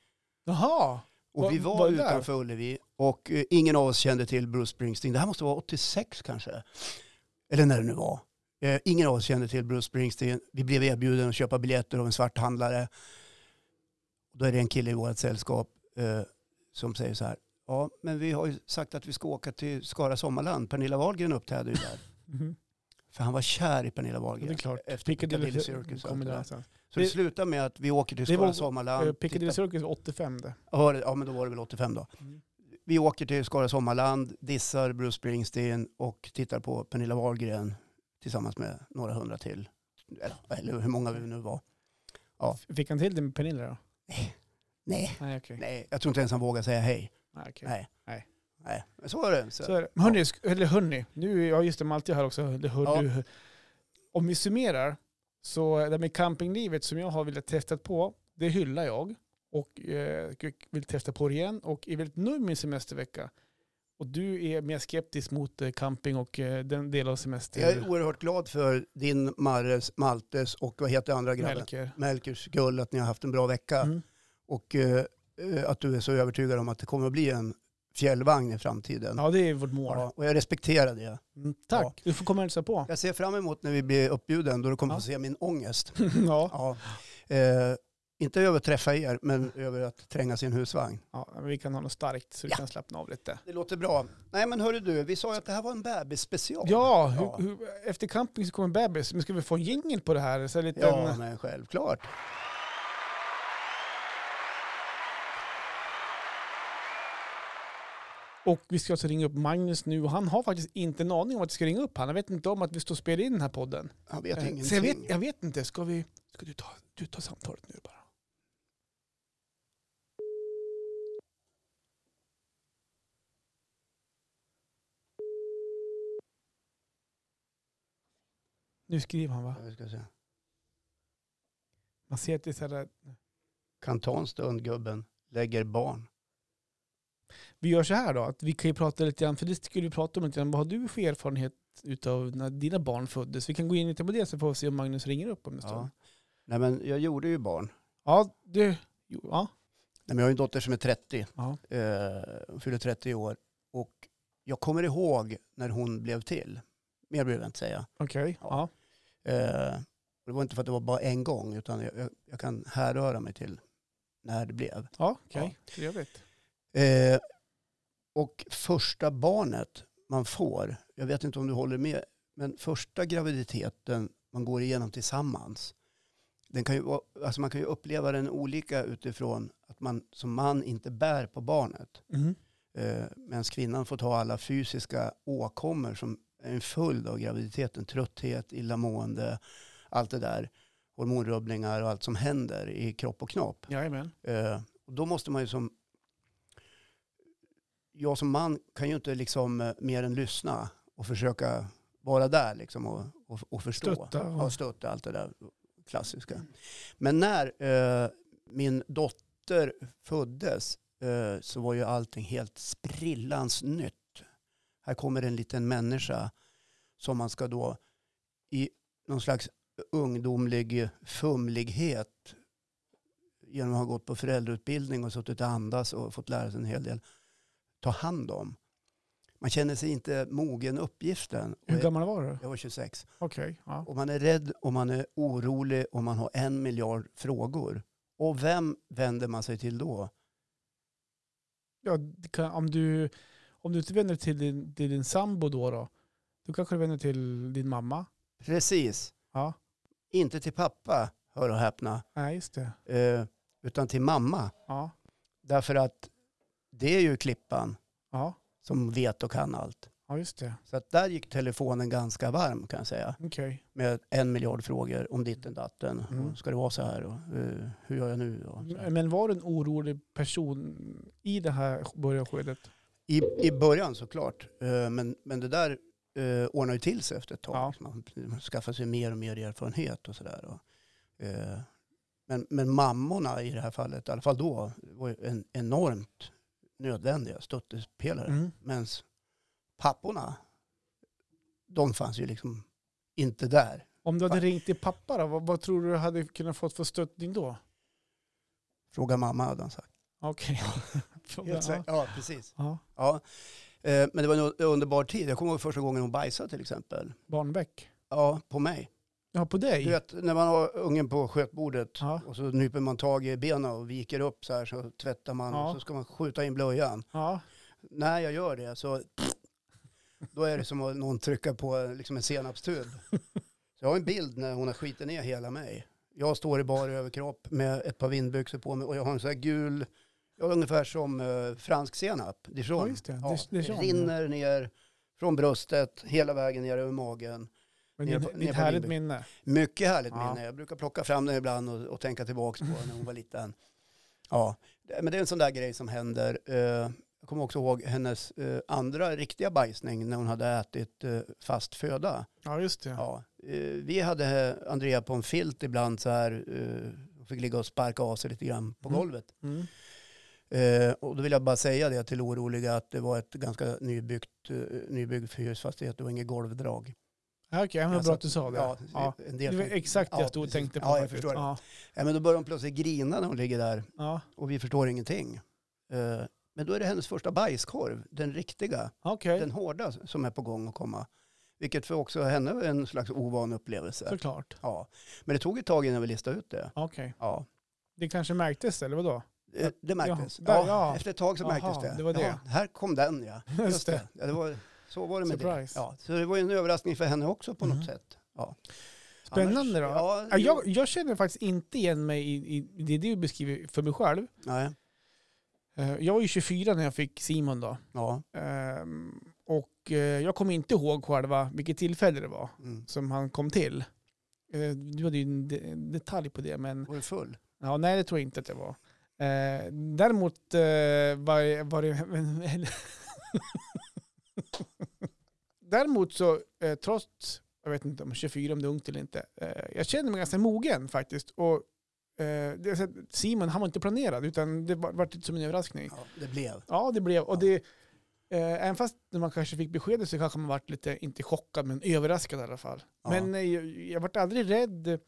Jaha! Var-
Och vi var,
var det där?
utanför Ullevi och eh, ingen av oss kände till Bruce Springsteen. Det här måste vara 86 kanske. Eller när det nu var. Eh, ingen av oss kände till Bruce Springsteen. Vi blev erbjuden att köpa biljetter av en svarthandlare. Då är det en kille i vårt sällskap eh, som säger så här. Ja, men vi har ju sagt att vi ska åka till Skara Sommarland. Pernilla Wahlgren uppträder ju där.
Mhm.
För han var kär i Pernilla
Ja, det
Wahlgren.
är klart.
Efter
Piccadilly
Piccadilly
Circus
Circus och
kommer
allt det
där
där.
sen.
Så det
Det-
slutar med att vi åker till
det
Skara
var- Eh,
Sommarland.
Piccadilly
tittar-
Circus var 85 det.
Ja, det- ja, men då var det väl 85 då. Vi åker till Skara Sommarland, dissar Bruce Springsteen och tittar på Pernilla Wahlgren tillsammans med några hundra till. Eller, eller hur många vi nu var.
Fick han till det med Pernilla då?
Nej,
Nej, okej.
nej, jag tror inte ens han vågar säga hej.
Nej, okej.
Nej.
Nej.
Nej, men så är det. Så.
Så är det. Men Hörni, sk- eller hörni, nu, ja just det, Malte är här också. Eller hör
Ja.
du. Om vi summerar, så det här med campinglivet som jag har velat testa på, det hyllar jag och eh, vill testa på det igen och är väldigt nöjd med min semestervecka. Och du är mer skeptisk mot eh, camping och eh, den del av semester.
Jag är oerhört glad för din, Marres, Maltes och vad heter andra grabben?
Melker.
Melkers gull, att ni har haft en bra vecka.
Mm.
Och eh, eh, att du är så övertygad om att det kommer att bli en fjällvagn i framtiden.
Ja, det är vårt mål.
Ja, och jag respekterar det.
Mm, tack.
Ja.
Du får komma och hälsa på.
Jag ser fram emot när vi blir uppbjuden då du kommer
Ja.
få se min ångest.
ja.
Ja. Eh, inte över att träffa er, men över att tränga sin husvagn.
ja, men vi kan ha något starkt så du
Ja.
kan slappna av lite.
Det låter bra. Nej men hörru du, vi sa ju att det här var en bebisspecial.
Ja, hur,
Ja.
Hur, efter camping så kommer en bebis. Men ska vi få en jingel på det här? Så här liten,
ja men självklart.
Och vi ska alltså ringa upp Magnus nu. Och han har faktiskt inte en aning om att vi ska ringa upp han. Han vet inte om att vi står och spelar in den här podden.
Han vet
Eh,
ingenting.
så jag vet, jag vet inte. Ska vi... Ska du ta, du ta samtalet nu bara? Nu skriver han va?
Ja, vi ska se.
Man ser att det är så här,
Kan ta en stund gubben, lägger barn.
Vi gör så här då, att vi kan ju prata lite grann, för det skulle vi prata om lite grann. Vad har du för erfarenhet utav när dina barn föddes? Vi kan gå in lite på det så får vi se om Magnus ringer upp om en stund.
Ja. Nej men jag gjorde ju barn.
Ja, du. Jo, ja.
Nej, men jag har ju en dotter som är 30.
Ja.
Eh, hon fyller 30 år. Och jag kommer ihåg när hon blev till. Mer behöver jag inte säga.
Okej. Ja.
Eh, och det var inte för att det var bara en gång, utan jag, jag, jag kan härröra mig till när det blev.
Ja, okej. Trevligt.
Eh, och första barnet man får, jag vet inte om du håller med, men första graviditeten man går igenom tillsammans, den kan ju, vara- alltså man kan ju uppleva den olika utifrån att man som man inte bär på barnet.
Mm.
Eh, medan kvinnan får ta alla fysiska åkommor som är en följd av graviditeten. Trötthet, illamående, allt det där. Hormonrubbningar och allt som händer i kropp och knopp.
Jajamän.
Eh, och då måste man ju som... Jag som man kan ju inte liksom eh, mer än lyssna och försöka vara där liksom och, och, och förstå.
Stötta och-
Ja, stötta, allt det där klassiska. Men när eh, min dotter föddes eh, så var ju allting helt sprillans nytt. Här kommer en liten människa som man ska då i någon slags ungdomlig fumlighet genom att ha gått på föräldrautbildning och suttit och andas och fått lära sig en hel del ta hand om. Man känner sig inte mogen uppgiften. Och
Hur
jag-
gammal var du?
Jag var 26.
Eh, Okej. Ja.
Och man är rädd och man är orolig och man har en miljard frågor. Och vem vänder man sig till då?
Ja, det kan, om, du, om du inte vänder dig till din, till din sambo då, då, då kanske du vänder dig till din mamma?
Precis,
Ja.
inte till pappa, hör och häpna,
Nej, just det.
eh, utan till mamma.
Ja.
Därför att det är ju Klippan
Ja,
som vet och kan allt.
ja just det.
Så att där gick telefonen ganska varm kan jag säga.
Okej.
med en miljard frågor om ditten datten.
Mm.
Och Ska det vara så här? Och, eh, hur gör jag nu? Och så här.
Men var du en orolig person i det här börjanskedet?
I, I början såklart, eh, men, men det där eh, ordnar ju till sig efter ett tag.
Ja.
Man, man skaffar sig mer och mer erfarenhet och sådär. Eh, men, men mammorna i det här fallet, i alla fall då, var ju en enormt nödvändiga stöttepelare.
Mm.
Medan papporna, de fanns ju liksom inte där.
Om du hade ringt till pappa då, vad, vad tror du hade kunnat fått för stöttning då?
Fråga mamma hade han sagt.
Okej.
Helt säkert. Ja, precis.
ja.
Ja, eh, men det var en underbar tid. Jag kommer ihåg första gången hon bajsade till exempel.
Barnbäck.
Ja, på mig.
Ja, på dig?
Du vet, när man har ungen på skötbordet
Ja.
och så nyper man tag i benen och viker upp så här så tvättar man
Ja.
och så ska man skjuta in blöjan.
Ja.
När jag gör det så då är det som att någon trycker på liksom en senapstub. Så jag har en bild när hon har skitit ner hela mig. Jag står i bar överkropp med ett par vindbyxor på mig och jag har en sån här gul, jag är ungefär som eh, fransk senap, dijon.
Ja, just det.
Ja,
Det- det är sån, ja.
rinner ner från bröstet hela vägen ner över magen.
Men
Ner
det
på-
är
ner
ett
på
härligt
Lindby.
minne.
Mycket härligt
Ja.
minne. Jag brukar plocka fram den ibland och, och tänka tillbaka på när hon var liten. Ja, det- men det är en sån där grej som händer. Eh, Jag kommer också ihåg hennes eh, andra riktiga bajsning när hon hade ätit eh, fast föda.
Ja, just det.
Ja. eh, Vi hade eh, Andrea på en filt ibland så här. eh, Hon fick ligga och sparka av sig lite grann på
Mm.
golvet.
Mm.
Eh, och då vill jag bara säga det till oroliga att det var ett ganska nybyggt, eh, nybyggd hyresfastighet och inget golvdrag.
Ja, Okej, men vad
Alltså,
bra att du sa det. Ja,
en
Det
del
var exakt det
Ja,
jag stod och
precis.
tänkte på.
Ja, jag
faktiskt.
förstår det.
Ja,
Ja, men då börjar hon plötsligt grina när hon ligger där
ja.
och vi förstår ingenting. Eh, Men då är det hennes första bajskorv, den riktiga,
Okej,
den hårda som är på gång att komma. Vilket för också henne är en slags ovan upplevelse.
såklart.
Ja. Men det tog ett tag innan vi listade ut det.
Okej.
Ja.
Det kanske märktes eller vadå?
Eh, Det märktes.
Ja, där,
Ja,
ja.
Efter ett tag så
Aha,
märktes det.
det var det.
Ja, här kom den ja.
Just det.
Ja, det var, så var det med
Surprise.
det. Ja, så det var ju en överraskning för henne också på
Mhm.
något sätt. Ja.
Spännande
Annars-
då.
Ja,
Ja,
jag...
jag, jag känner faktiskt inte igen mig i, i det du beskriver för mig själv.
Nej.
Eh, Jag var ju 24 när jag fick Simon då.
Ja.
Ehm, Och eh, jag kommer inte ihåg själva vilket tillfälle det var
Mm.
som han kom till. Eh, Du hade ju en de- en detalj på det, men
Var du full?
ja, nej det tror jag inte att det var. Eh, Däremot eh, var, var det... Däremot så, eh, trots, jag vet inte om 24 om det är ungt eller inte, eh, jag känner mig ganska mogen faktiskt. Och eh, det är så att Simon, han var inte planerad, utan det var, var lite som en överraskning.
Ja, det blev.
Ja, det blev. Och
Ja.
det, eh, även fast när man kanske fick beskedet så kanske man varit lite, inte chockad, men överraskad i alla fall.
Ja.
Men eh, jag, jag vart aldrig rädd.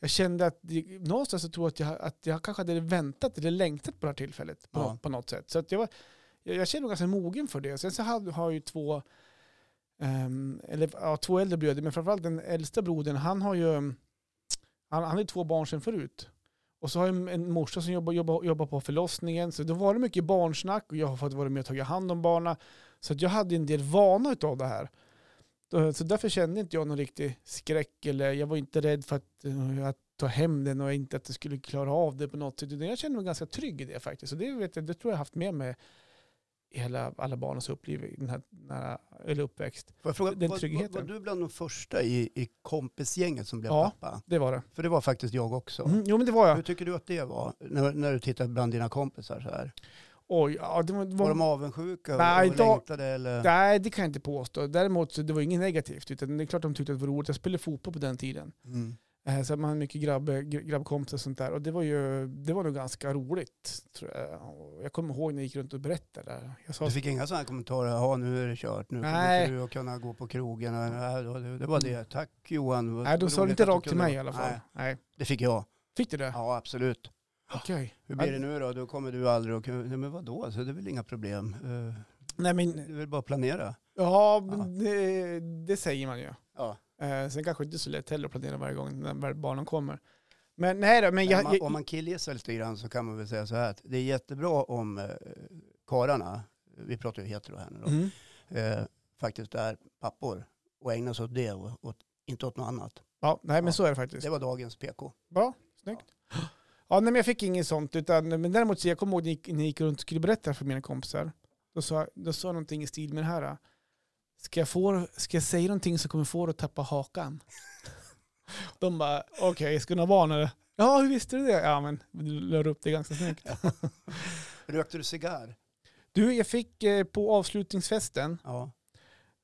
Jag kände att det, någonstans så tror jag att jag, att jag kanske hade väntat eller längtat på det här tillfället på,
Ja.
något- på något sätt. Så att jag, var, jag, jag kände mig ganska mogen för det. Sen så hade, har jag ju två, ehm, eller, ja, två äldre bröder, men framförallt den äldsta brodern, han har ju han, han har ju två barn sedan förut. Och så har jag en- en morsa som jobbar, jobbar, jobbar på förlossningen. Så då var det mycket barnsnack och jag har fått vara med och tagit hand om barna. Så att jag hade en del vana av det här. Då- Så därför kände inte jag någon riktig skräck eller jag var inte rädd för att, eh, att ta hem den och inte att jag skulle klara av det på något sätt. Utan Jag kände mig ganska trygg i det faktiskt. Och det, vet jag, det tror jag har haft med mig i hela, alla barnens uppliv, i den här, den här, eller uppväxt.
Får jag fråga,
Den
var, var,
tryggheten.
var du bland de första i, i kompisgänget som blev
Ja.
pappa?
Det var det.
För det var faktiskt jag också.
Mm, jo men det var jag.
Hur tycker du att det var när, när du tittar bland dina kompisar så här?
Oj, ja, det var, det
Var,
var,
de avundsjuka och-
Nej,
och
då-
längtade eller?
Nej, det kan jag inte påstå. Däremot så det var inget negativt. Utan det är klart de tyckte att det var roligt. Jag spelade fotboll på den tiden.
Mm.
Eh, Så man hade mycket grabb, gr- grabbkompisar och sånt där. Och det var ju det var nog ganska roligt. Tror jag. Och jag kommer ihåg när jag gick runt och berättade. där. Jag sa,
Du fick inga sådana kommentarer, ja nu är det kört, nu kommer
Nej. Mm.
inte du att kunna gå på krogen. och- nej, det var- Det var det, tack Johan. Vad
nej, de sa det
roligt
inte
att du
rakt till
kunde-
mig i alla fall.
Nej,
Nej.
det fick jag.
Fick du det?
Ja, absolut.
Okej.
Hur blir
Ja.
det nu då? Då kommer du aldrig att kunna... Nej, men vadå, så det är väl inga problem. Eh, Det
Nej, men,
är väl bara att planera.
ja, men det, det säger man ju.
Ja.
Eh, sen kanske inte är så lätt heller att planera varje gång när väl barnen kommer. Men nej då, men
Men
jag...
om, man,
jag,
om man killgissar lite grann så kan man väl säga så här att det är jättebra om eh, kararna, vi pratar ju hetero här nu då,
mm.
eh, faktiskt är pappor och ägnar sig åt det och, och inte åt något annat.
Ja, nej men
Ja.
så är det faktiskt.
Det var dagens PK.
Bra, snyggt. Ja, nej, men jag fick inget sånt. Utan, men däremot, så jag kommer ihåg när jag gick- när jag gick runt och skulle berätta för mina kompisar. Då sa, då sa jag någonting i stil med det här. Ska jag, få, ska jag säga någonting som kommer få dig att tappa hakan? De bara, okej, ska du ha barn eller? Ja, hur visste du det? Ja, men du lade upp det ganska snyggt.
Rökte du cigarr?
Du, jag fick eh, på avslutningsfesten
Ja.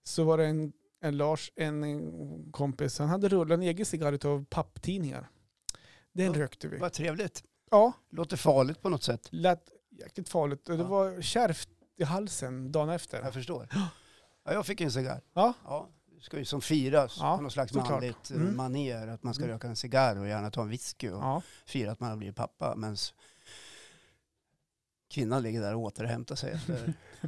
så var det en, en Lars, en, en kompis, han hade rullat en egen cigarr av papptidningar. Den
Ja,
rökte vi.
Vad trevligt.
Ja,
Låter farligt på något sätt.
lät jäkligt farligt. Och det
Ja.
var kärvt i halsen dagen efter.
Jag förstår. Ja, jag fick en cigarr.
Ja.
ja. Det ska ju som firas
Ja,
på något slags
såklart.
manligt eh,
Mm.
manér att man ska
Mm.
röka en cigarr och gärna ta en whisky och
Ja.
fira att man har blivit pappa. Men kvinnan ligger där och återhämtar sig efter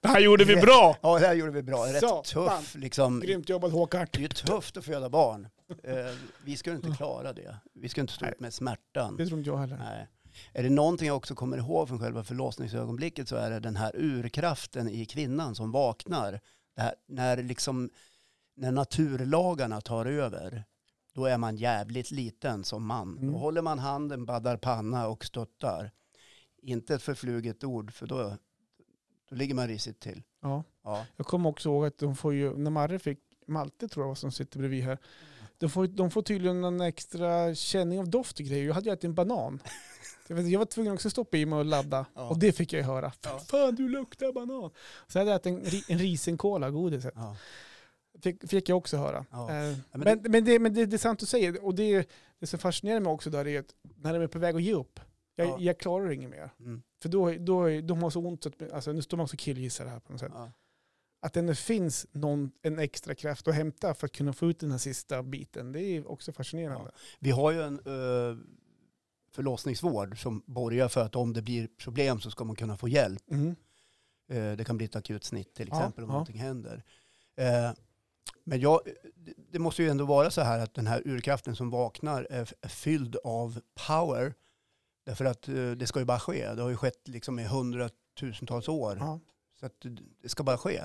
det här gjorde vi bra!
Ja, det här gjorde vi bra. Rätt
Så,
tuff, liksom.
Grymt jobbat Håkan.
Det är ju tufft att föda barn. Eh, vi skulle inte klara det. Vi skulle inte stå
Nej.
ut med smärtan.
Det tror inte jag heller.
Nej. Är det någonting jag också kommer ihåg från själva förlossningsögonblicket så är det den här urkraften i kvinnan som vaknar. Det här, när, liksom, när naturlagarna tar över, då är man jävligt liten som man.
Mm.
Då håller man handen, baddar panna och stöttar. Inte ett förfluget ord, för då, då ligger man risigt till.
Ja.
Ja.
Jag kommer också ihåg att de får ju, när Marre fick, Malte tror jag var som sitter bredvid här, de får, de får tydligen någon extra känning av doft och grejer. Jag hade ju ätit en banan. Jag, vet, jag var tvungen också att stoppa i mig och ladda.
Ja.
Och det fick jag ju höra.
Ja.
Fan du luktar banan. Så hade jag ätit en, ri- en risenkola, godiset.
Ja.
Fick, fick jag också höra.
Ja.
Eh,
men
men men, det... men, det, är sant du säger. Och det, det som fascinerar mig också där är att när de är på väg att ge upp, jag,
Ja.
jag klarar inget mer.
Mm.
För då, då, de har så ont, att, alltså, nu står man också killgissar här på något sätt
Ja.
att det ändå finns någon, en extra kraft att hämta för att kunna få ut den här sista biten, det är också fascinerande.
Vi har ju en eh, förlossningsvård som borgar för att om det blir problem så ska man kunna få hjälp.
Mm.
Eh, Det kan bli ett akut snitt till
Ja,
exempel om
ja.
någonting händer. Eh, Men jag, det- det måste ju ändå vara så här att den här urkraften som vaknar är f- är fylld av power. Därför att eh, det ska ju bara ske. Det har ju skett liksom i hundratusentals år.
Ja.
Så att det- det ska bara ske.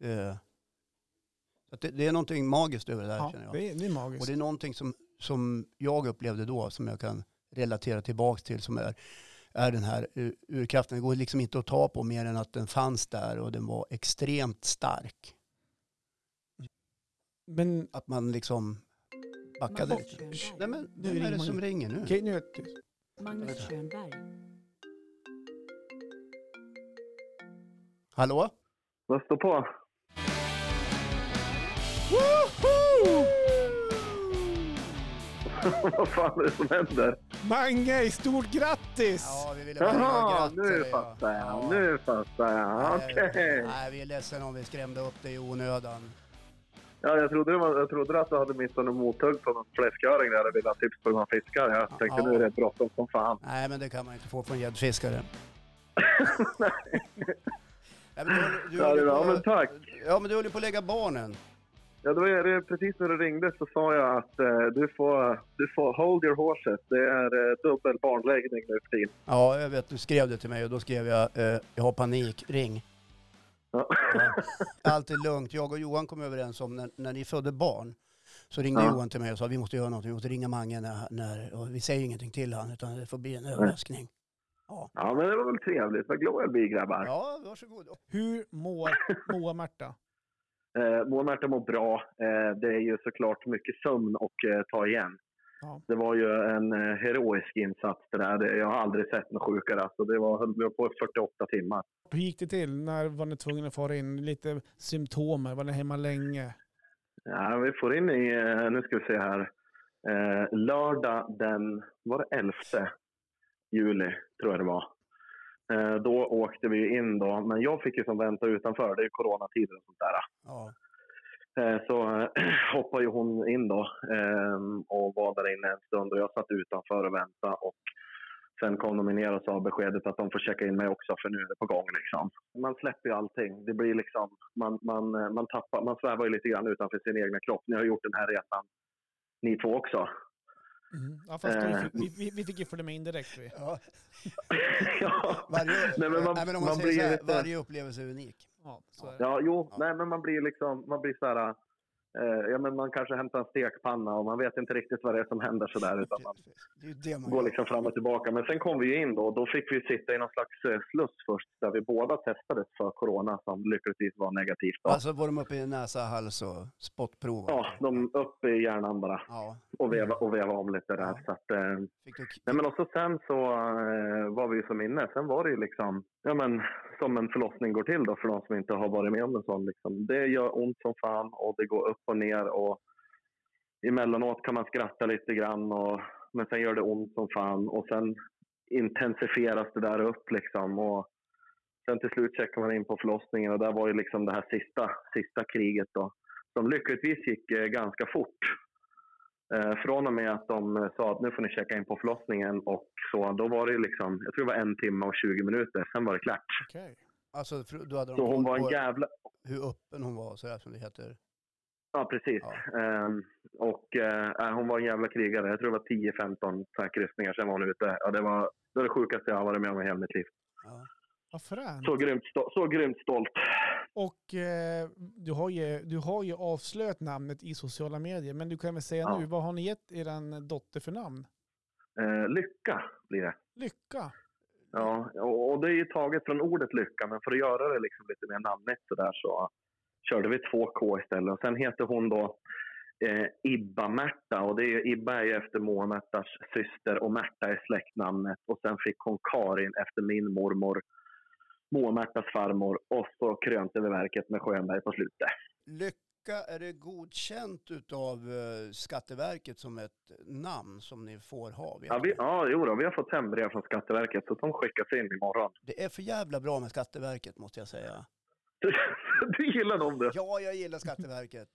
Eh, Så att det, det är någonting magiskt över det där
Ja,
känner jag.
det, är, det är magiskt.
Och det är någonting som, som jag upplevde då, som jag kan relatera tillbaka till, som är, är den här ur- urkraften. Det går liksom inte att ta på mer än att den fanns där och den var extremt stark.
Men
Att man liksom backade.
Magnus
Shh,
Schönberg.
Nej, men
Nu
vem är
ringer
det
man
som
ju.
ringer nu?
okej, nu är jag tyst.
Magnus Schönberg.
Hallå?
Rösta på. Vad fan är det som händer?
Mange, stort grattis!
Ja, vi ville
Jaha,
gratta
nu
dig, ja.
fattar
Ja.
jag. Nu fattar jag.
Nej,
Okej.
Nej, vi är ledsna om vi skrämde upp dig i onödan.
Ja, jag, trodde det var, jag trodde att du hade missat en mothugg på någon fläsköring där och ville ha tips på hur man fiskar. Jag tänkte
Ja.
nu är det bråttom som fan.
Nej, men det kan man inte få från gäddfiskare. Nej, men du, du,
Ja, det-
håller
ja,
på-
men tack.
Ja, men du håller på att lägga barnen.
Ja, det var det, precis när du ringde så sa jag att eh, du, får, du får hold your horses. Det är eh, dubbel barnläggning nu för tiden.
Ja, jag vet. Du skrev det till mig och då skrev jag eh, jag har panik, ring.
Ja.
Ja. Allt är lugnt. Jag och Johan kom överens om när, när ni födde barn så ringde
Ja.
Johan till mig och sa vi måste göra något, vi måste ringa Mange när, när och vi säger ingenting till han utan det får bli en överraskning.
ja, men det var väl trevligt. Vad glad jag blir grabbar.
Ja, varsågod.
Hur mår Moa Märta?
Eh, Moa Märta mår bra. Eh, det är ju såklart mycket sömn och eh, ta igen.
Ja.
Det var ju en eh, heroisk insats det där. Det- Jag har aldrig sett något sjukare. Alltså, det var, höll vi på i 48 timmar.
Hur gick det till? När var ni tvungna att fara in? Lite symptomer? Var ni hemma länge?
Ja, vi får in i, eh, nu ska vi se här, eh, lördag den, var det 11 juli tror jag det var. Eh, då åkte vi in då, men jag fick ju som vänta utanför, det är ju coronatider och sånt där.
Ja.
Eh, Så eh, hoppade ju hon in då ehm, och var där inne en stund och jag satt utanför och väntade. Och sen kom de ner och sa beskedet att de får checka in mig också för nu är det på gång. Liksom. Man släpper ju allting. Det blir liksom, man, man, eh, man, tappar, man svävar ju lite grann utanför sin egna kropp. Ni har gjort den här resan ni två också.
Mm. Ja, fast då, vi,
Eh.
fick- vi, vi, vi fick ju följa med indirekt. Vi.
Ja.
ja.
Varje,
Nej, men man-
nej, men om man,
man
säger
blir
så här,
lite-
varje upplevelse är unik.
Ja, så är det.
Ja, jo,
Ja.
nej men man blir liksom, man blir så här, eh, ja men man kanske hämtar en stekpanna och man vet inte riktigt vad det är som händer så där utan man
Det är ju det man
går
gör.
liksom fram och tillbaka. Men sen kom vi ju in då och då fick vi sitta i någon slags eh, sluss först där vi båda testades för corona som lyckligtvis var negativt. Då.
Alltså var de uppe i näsa, hals och spottprov?
Ja, de upp i hjärnan bara
ja.
och veva, och veva om lite där. Så att, eh,
Fick du...
nej men och så sen så eh, var vi ju som inne. Sen var det ju liksom, ja men som en förlossning går till då för de som inte har varit med om en sån. Liksom. Det gör ont som fan och det går upp och ner och emellanåt kan man skratta lite grann och, men sen gör det ont som fan och sen intensifieras det där upp liksom. Och sen till slut checkar man in på förlossningen och där var ju liksom det här sista, sista kriget då. Som lyckligtvis gick eh, ganska fort. Eh, från och med att de eh, sa att nu får ni checka in på förlossningen och så, då var det ju liksom, jag tror det var en timme och 20 minuter, sen var det klart.
Okej.
Alltså, för- då hade de
Så hon
koll
var en
på
jävla,
hur öppen hon var, så där som det heter.
Ja, precis.
Ja.
Ehm, och eh, hon var en jävla krigare. Jag tror det var 10-15 så här kryssningar, sen var hon ute. Ja, det var det, var det sjukaste jag har varit med om i hela mitt liv.
Ja.
Vad fränt.
Så grymt, sto- så grymt stolt.
Och eh, du, har ju, du har ju avslöjat namnet i sociala medier, men du kan väl säga
Ja.
nu, vad har ni gett er dotter för namn?
Eh, lycka blir det.
Lycka.
Ja, och, och det är ju taget från ordet lycka, men för att göra det liksom lite mer namnigt så där så körde vi 2K istället. Och sen heter hon då eh, Ibba-Märta och det är ju, Ibba är ju efter Moa Märtas syster och Märta är släktnamnet. Och sen fick hon Karin efter min mormor, Moa Märtas farmor och så krönte vi verket med Sjöberg på slutet.
Lycka, är det godkänt utav eh, Skatteverket som ett namn som ni får ha? Vet
Ja, vi,
ni?
ja jo då, vi har fått hembrev från Skatteverket så de skickas in imorgon.
Det är för jävla bra med Skatteverket måste jag säga.
du gillar dem du?
Ja, jag gillar Skatteverket.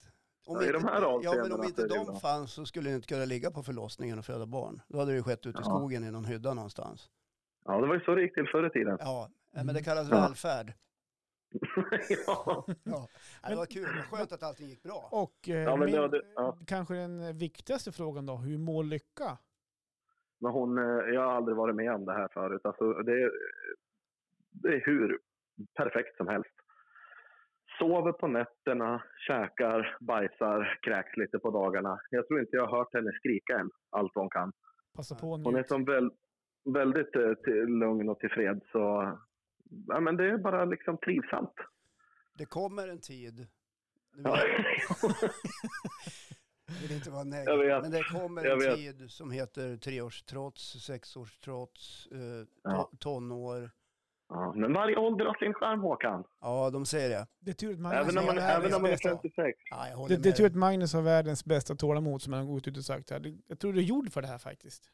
Ja, i de här
ja, men om
avseendena
inte
så är det
de
bra.
fanns så skulle det inte kunna ligga på förlossningen och föda barn. Då hade det ju skett ute i
Ja.
skogen i någon hydda någonstans.
Ja, det var ju så det gick till förr i tiden.
Ja, eh, men
Mm.
det kallas
Ja.
välfärd.
ja.
Ja. Ja, Det
Men-
var kul, det var skönt att allting gick bra.
Och eh,
Ja, men
min,
det var det- ja.
kanske den viktigaste frågan då, hur mår Lycka?
Men hon, eh, jag har aldrig varit med om det här förut. Alltså, det, är- det är hur perfekt som helst. Sover på nätterna, käkar, bajsar, kräks lite på dagarna. Jag tror inte jag har hört henne skrika än, allt vad hon kan.
Passa
Ja,
på nu.
Hon är som väl, väldigt eh, till, lugn och tillfreds. Så, ja, men det är bara liksom trivsamt.
Det kommer en tid, nu vill
Ja.
jag- jag vill inte vara
Jag
negativ,
vet.
men det kommer
Jag
en
vet.
tid som heter treårstrots, sexårstrots, eh, to-
Ja.
tonår.
Ja, men varje ålder har sin charm, Håkan.
Ja, de säger det.
Det är tur att Magnus
Även om
har
man,
det här
även
är
om man är
världens bästa-
56.
Ja, jag håller
det,
med
det är typ tur
dig.
att Magnus har världens bästa tålamod som han har gått ut och sagt här. Det- Jag tror du är gjord för det här faktiskt.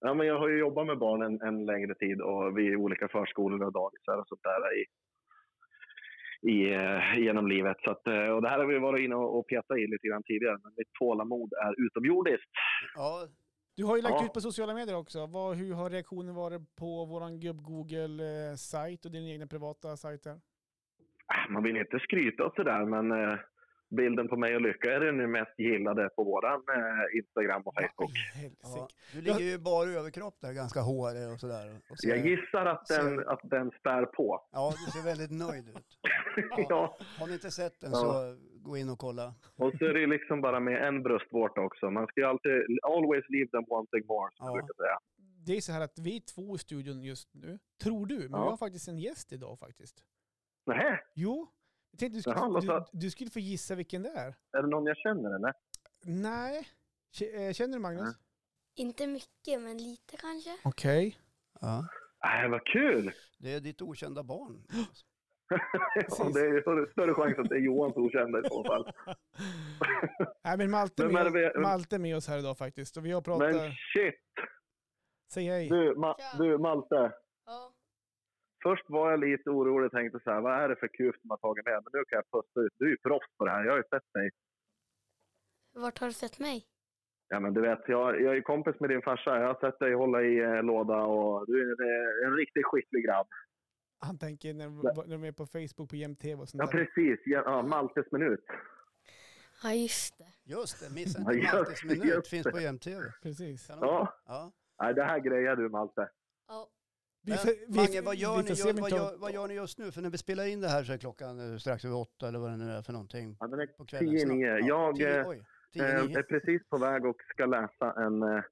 Ja, men jag har ju jobbat med barn en, en längre tid och vid olika förskolor och dagisar och sånt där i, i, eh, genom livet. Så att, eh, och det här har vi varit inne och, och petat i lite grann tidigare, men mitt tålamod är utomjordiskt.
Ja,
Du har ju lagt
Ja.
ut på sociala medier också. Vad, hur har reaktionen varit på våran gubb Google-sajt och dina egna privata sajter?
Äh, Man vill inte skryta och sådär, men eh, bilden på mig och Lycka är den mest gillade på våran eh, Instagram och Facebook.
Vad i helsike.
ja. Du ligger ju bara i överkropp där, ganska hårig och sådär. Och ser,
Jag gissar att den,
ser-
att den spär på.
Ja, du ser väldigt nöjd ut.
ja.
Har ni inte sett den
Ja.
så gå in och kolla.
Och så är det liksom bara med en bröstvårta också. Man ska ju alltid, always leave them wanting more,
Ja.
som jag brukar säga.
Det är så här att vi är två i studion just nu. Tror du, men
Ja.
vi har faktiskt en gäst idag faktiskt.
Nähä,
Jo, jag tänkte du skulle,
Jaha, låt
du,
höra.
du skulle få gissa vilken det är.
Är det någon jag känner eller?
Nej. K- eh, Känner du Magnus?
Nej.
Inte mycket, men lite kanske.
Okej.
Ja.
Nej, Äh, vad kul!
Det är ditt okända barn.
Ja, det är ju större- större chans att det är Johans okända i så fall.
Nej, men Malte är
Men
med,
vad är det vi-
Malte är med oss här idag faktiskt. Och vi har pratat...
Men shit!
Säg hej.
Du, Ma- du Malte.
Ja.
Först var jag lite orolig och tänkte så här, vad är det för kuf som har tagit med? Men nu kan jag pusta ut. Du är ju proffs på det här. Jag har ju sett dig.
Vart har du sett mig?
Ja, men du vet, jag, jag är ju kompis med din farsa. Jag har sett dig hålla i eh, låda och du är en, en riktigt skicklig grabb.
Han tänker när, när de är på Facebook på JämTV och sånt
Ja,
där.
precis. Ja, ja, Maltes minut.
Ja, just det.
Just det, missa
Ja,
inte
just
Maltes
det,
minut.
just
Finns
det.
på JämTV.
Precis.
Kanon.
Ja,
Ja.
nej, det här grejer du Malte.
Ja.
Vi
Men,
får- vi-
Mange, vad
vi
gör,
får
ni,
se
ju-
om vi
vad,
tar-
gör, vad gör ni just nu? För när vi spelar in det här så är klockan eh, strax över åtta eller vad det nu är för någonting
Ja, den är
på kvällen.
Tio,
Snart.
nio. Jag,
tio,
eh,
oj, tio,
Eh,
nio.
är precis på väg och ska läsa en eh,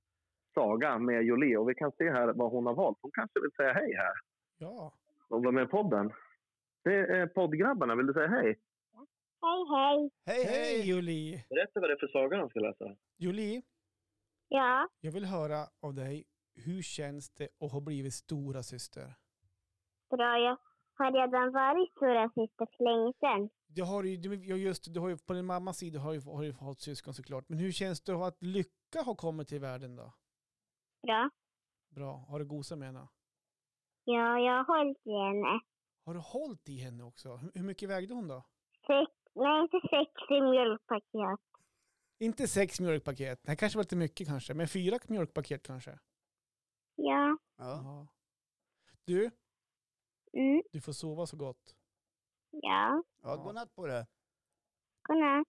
saga med Jolie. Och vi kan se här vad hon har valt. Hon kanske vill säga hej här
Ja.
och vara med i podden. Det är poddgrabbarna. Vill du säga hej?
Hej, hej.
Hej,
Hej
hej!
Julie!
Berätta vad det är för saga de ska läsa.
Julie,
Ja,
jag vill höra av dig. Hur känns det att ha blivit stora syster?
bra. Jag har redan varit stora syster för länge sedan.
Du har ju, du, ja, just, det, du har ju, på din mammas sida har du har du fått syskon såklart. Men hur känns det att Lycka har kommit till världen då?
Bra.
Bra. Har du gosat med henne?
Ja, jag har hållit i henne.
Har du hållit i henne också? Hur, hur mycket vägde hon då?
Sex, nej, inte sex i mjölkpaket.
Inte sex mjölkpaket. Det här kanske var lite mycket kanske. Men fyra mjölkpaket kanske?
Ja.
Ja.
Du,
Mm,
du får sova så gott.
ja.
Ja, godnatt på det.
Godnatt.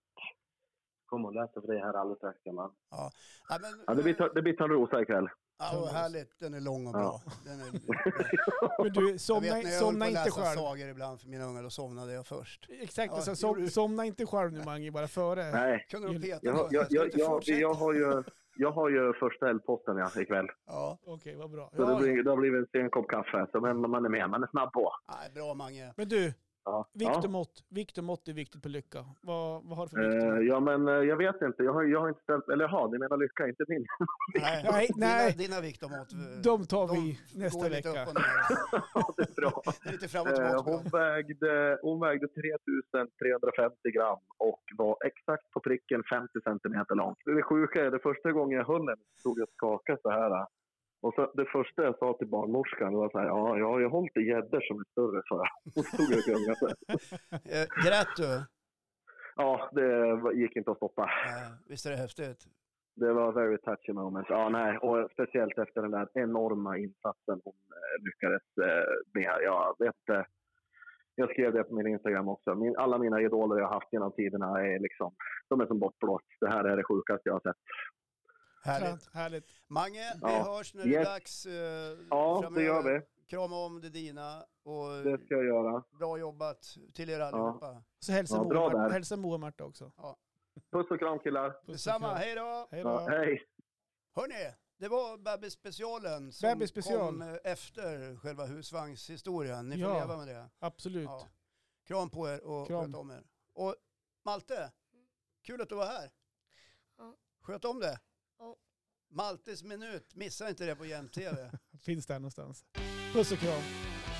Kom och läser för dig här alldeles strax gammal.
Ja, men, eh,
Ja, det blir, Tör- det blir Törnrosa ikväll.
ja, vad härligt. Den är lång och
Ja.
bra. Den är,
Men du,
jag vet
somna,
när jag höll på
somna
att
inte
läsa
själv.
sagor ibland för mina ungar, då somnade jag först.
Exakt,
Ja,
alltså,
det
som,
gjorde du.
somna inte själv nu Mange, bara före.
Nej,
Kunde de peta
jag, har-
på
jag,
Ska
jag,
inte
jag,
fortsätta?
jag, har ju, jag har ju första eldposten ja, ikväll.
Ja,
Okej, vad bra.
Så det,
Ja,
blir, det har blivit en sen kopp kaffe. Så man, man är med, man är snabb på.
nej, bra Mange.
men du,
Ja,
vikt och
ja.
mått. Vikt och mått är viktigt på lycka. Vad, vad har du för vikt? och
Eh,
mått?
ja men eh, jag vet inte. Jag har, jag har inte ställt... Eller jaha, ni menar lycka, inte min.
Nej, nej.
Dina, dina vikt och mått. eh,
De tar
de
vi
går
nästa
lite upp
vecka.
och ner.
det är bra.
Det är lite fram och
Eh,
tillbaka.
hon, vägde, hon vägde 3350 gram och var exakt på pricken 50 centimeter lång. Det sjuka är, det första gången jag höll henne stod jag och skakade så här. Och så, det första jag sa till barnmorskan var så här, ja, jag har ju hållit i gäddor som är större, så jag. Hon stod och gungade så här.
Eh, Grät du?
Ja, det var- gick inte att stoppa.
Eh, Visst är det häftigt?
Det var very touchy moment. Ja, nej, och speciellt efter den där enorma insatsen hon eh, lyckades eh, med. Jag vet inte. Jag skrev det på min Instagram också. Min, alla mina idoler jag har haft genom tiderna är liksom, de är som bortblåst. Det här är det sjukaste jag har sett.
Härligt.
Skönt, härligt.
Mange, vi
Ja.
hörs när det är
Yes.
dags. eh,
Ja, det
framöver.
gör vi.
Krama om det dina och
Det ska jag göra.
bra jobbat till er allihopa.
Så hälsa,
Ja,
Moa
bra
Marta-
där.
hälsa Moa och Marta också.
Puss och kram killar.
Puss och
Detsamma,
kram.
hej då!
Hej
Ja,
då.
hej!
Hörni, det var bebisspecialen som
Bebisspecial.
kom eh, efter själva husvagnshistorien. Ni får
Ja.
leva med det.
Absolut.
Ja. Kram på er och
Kram.
sköt om er. Och Malte, kul att du var här.
Ja.
Sköt om det.
Ja.
Maltes minut, missa inte det på Jämt-TV.
Finns där någonstans. Puss och kram.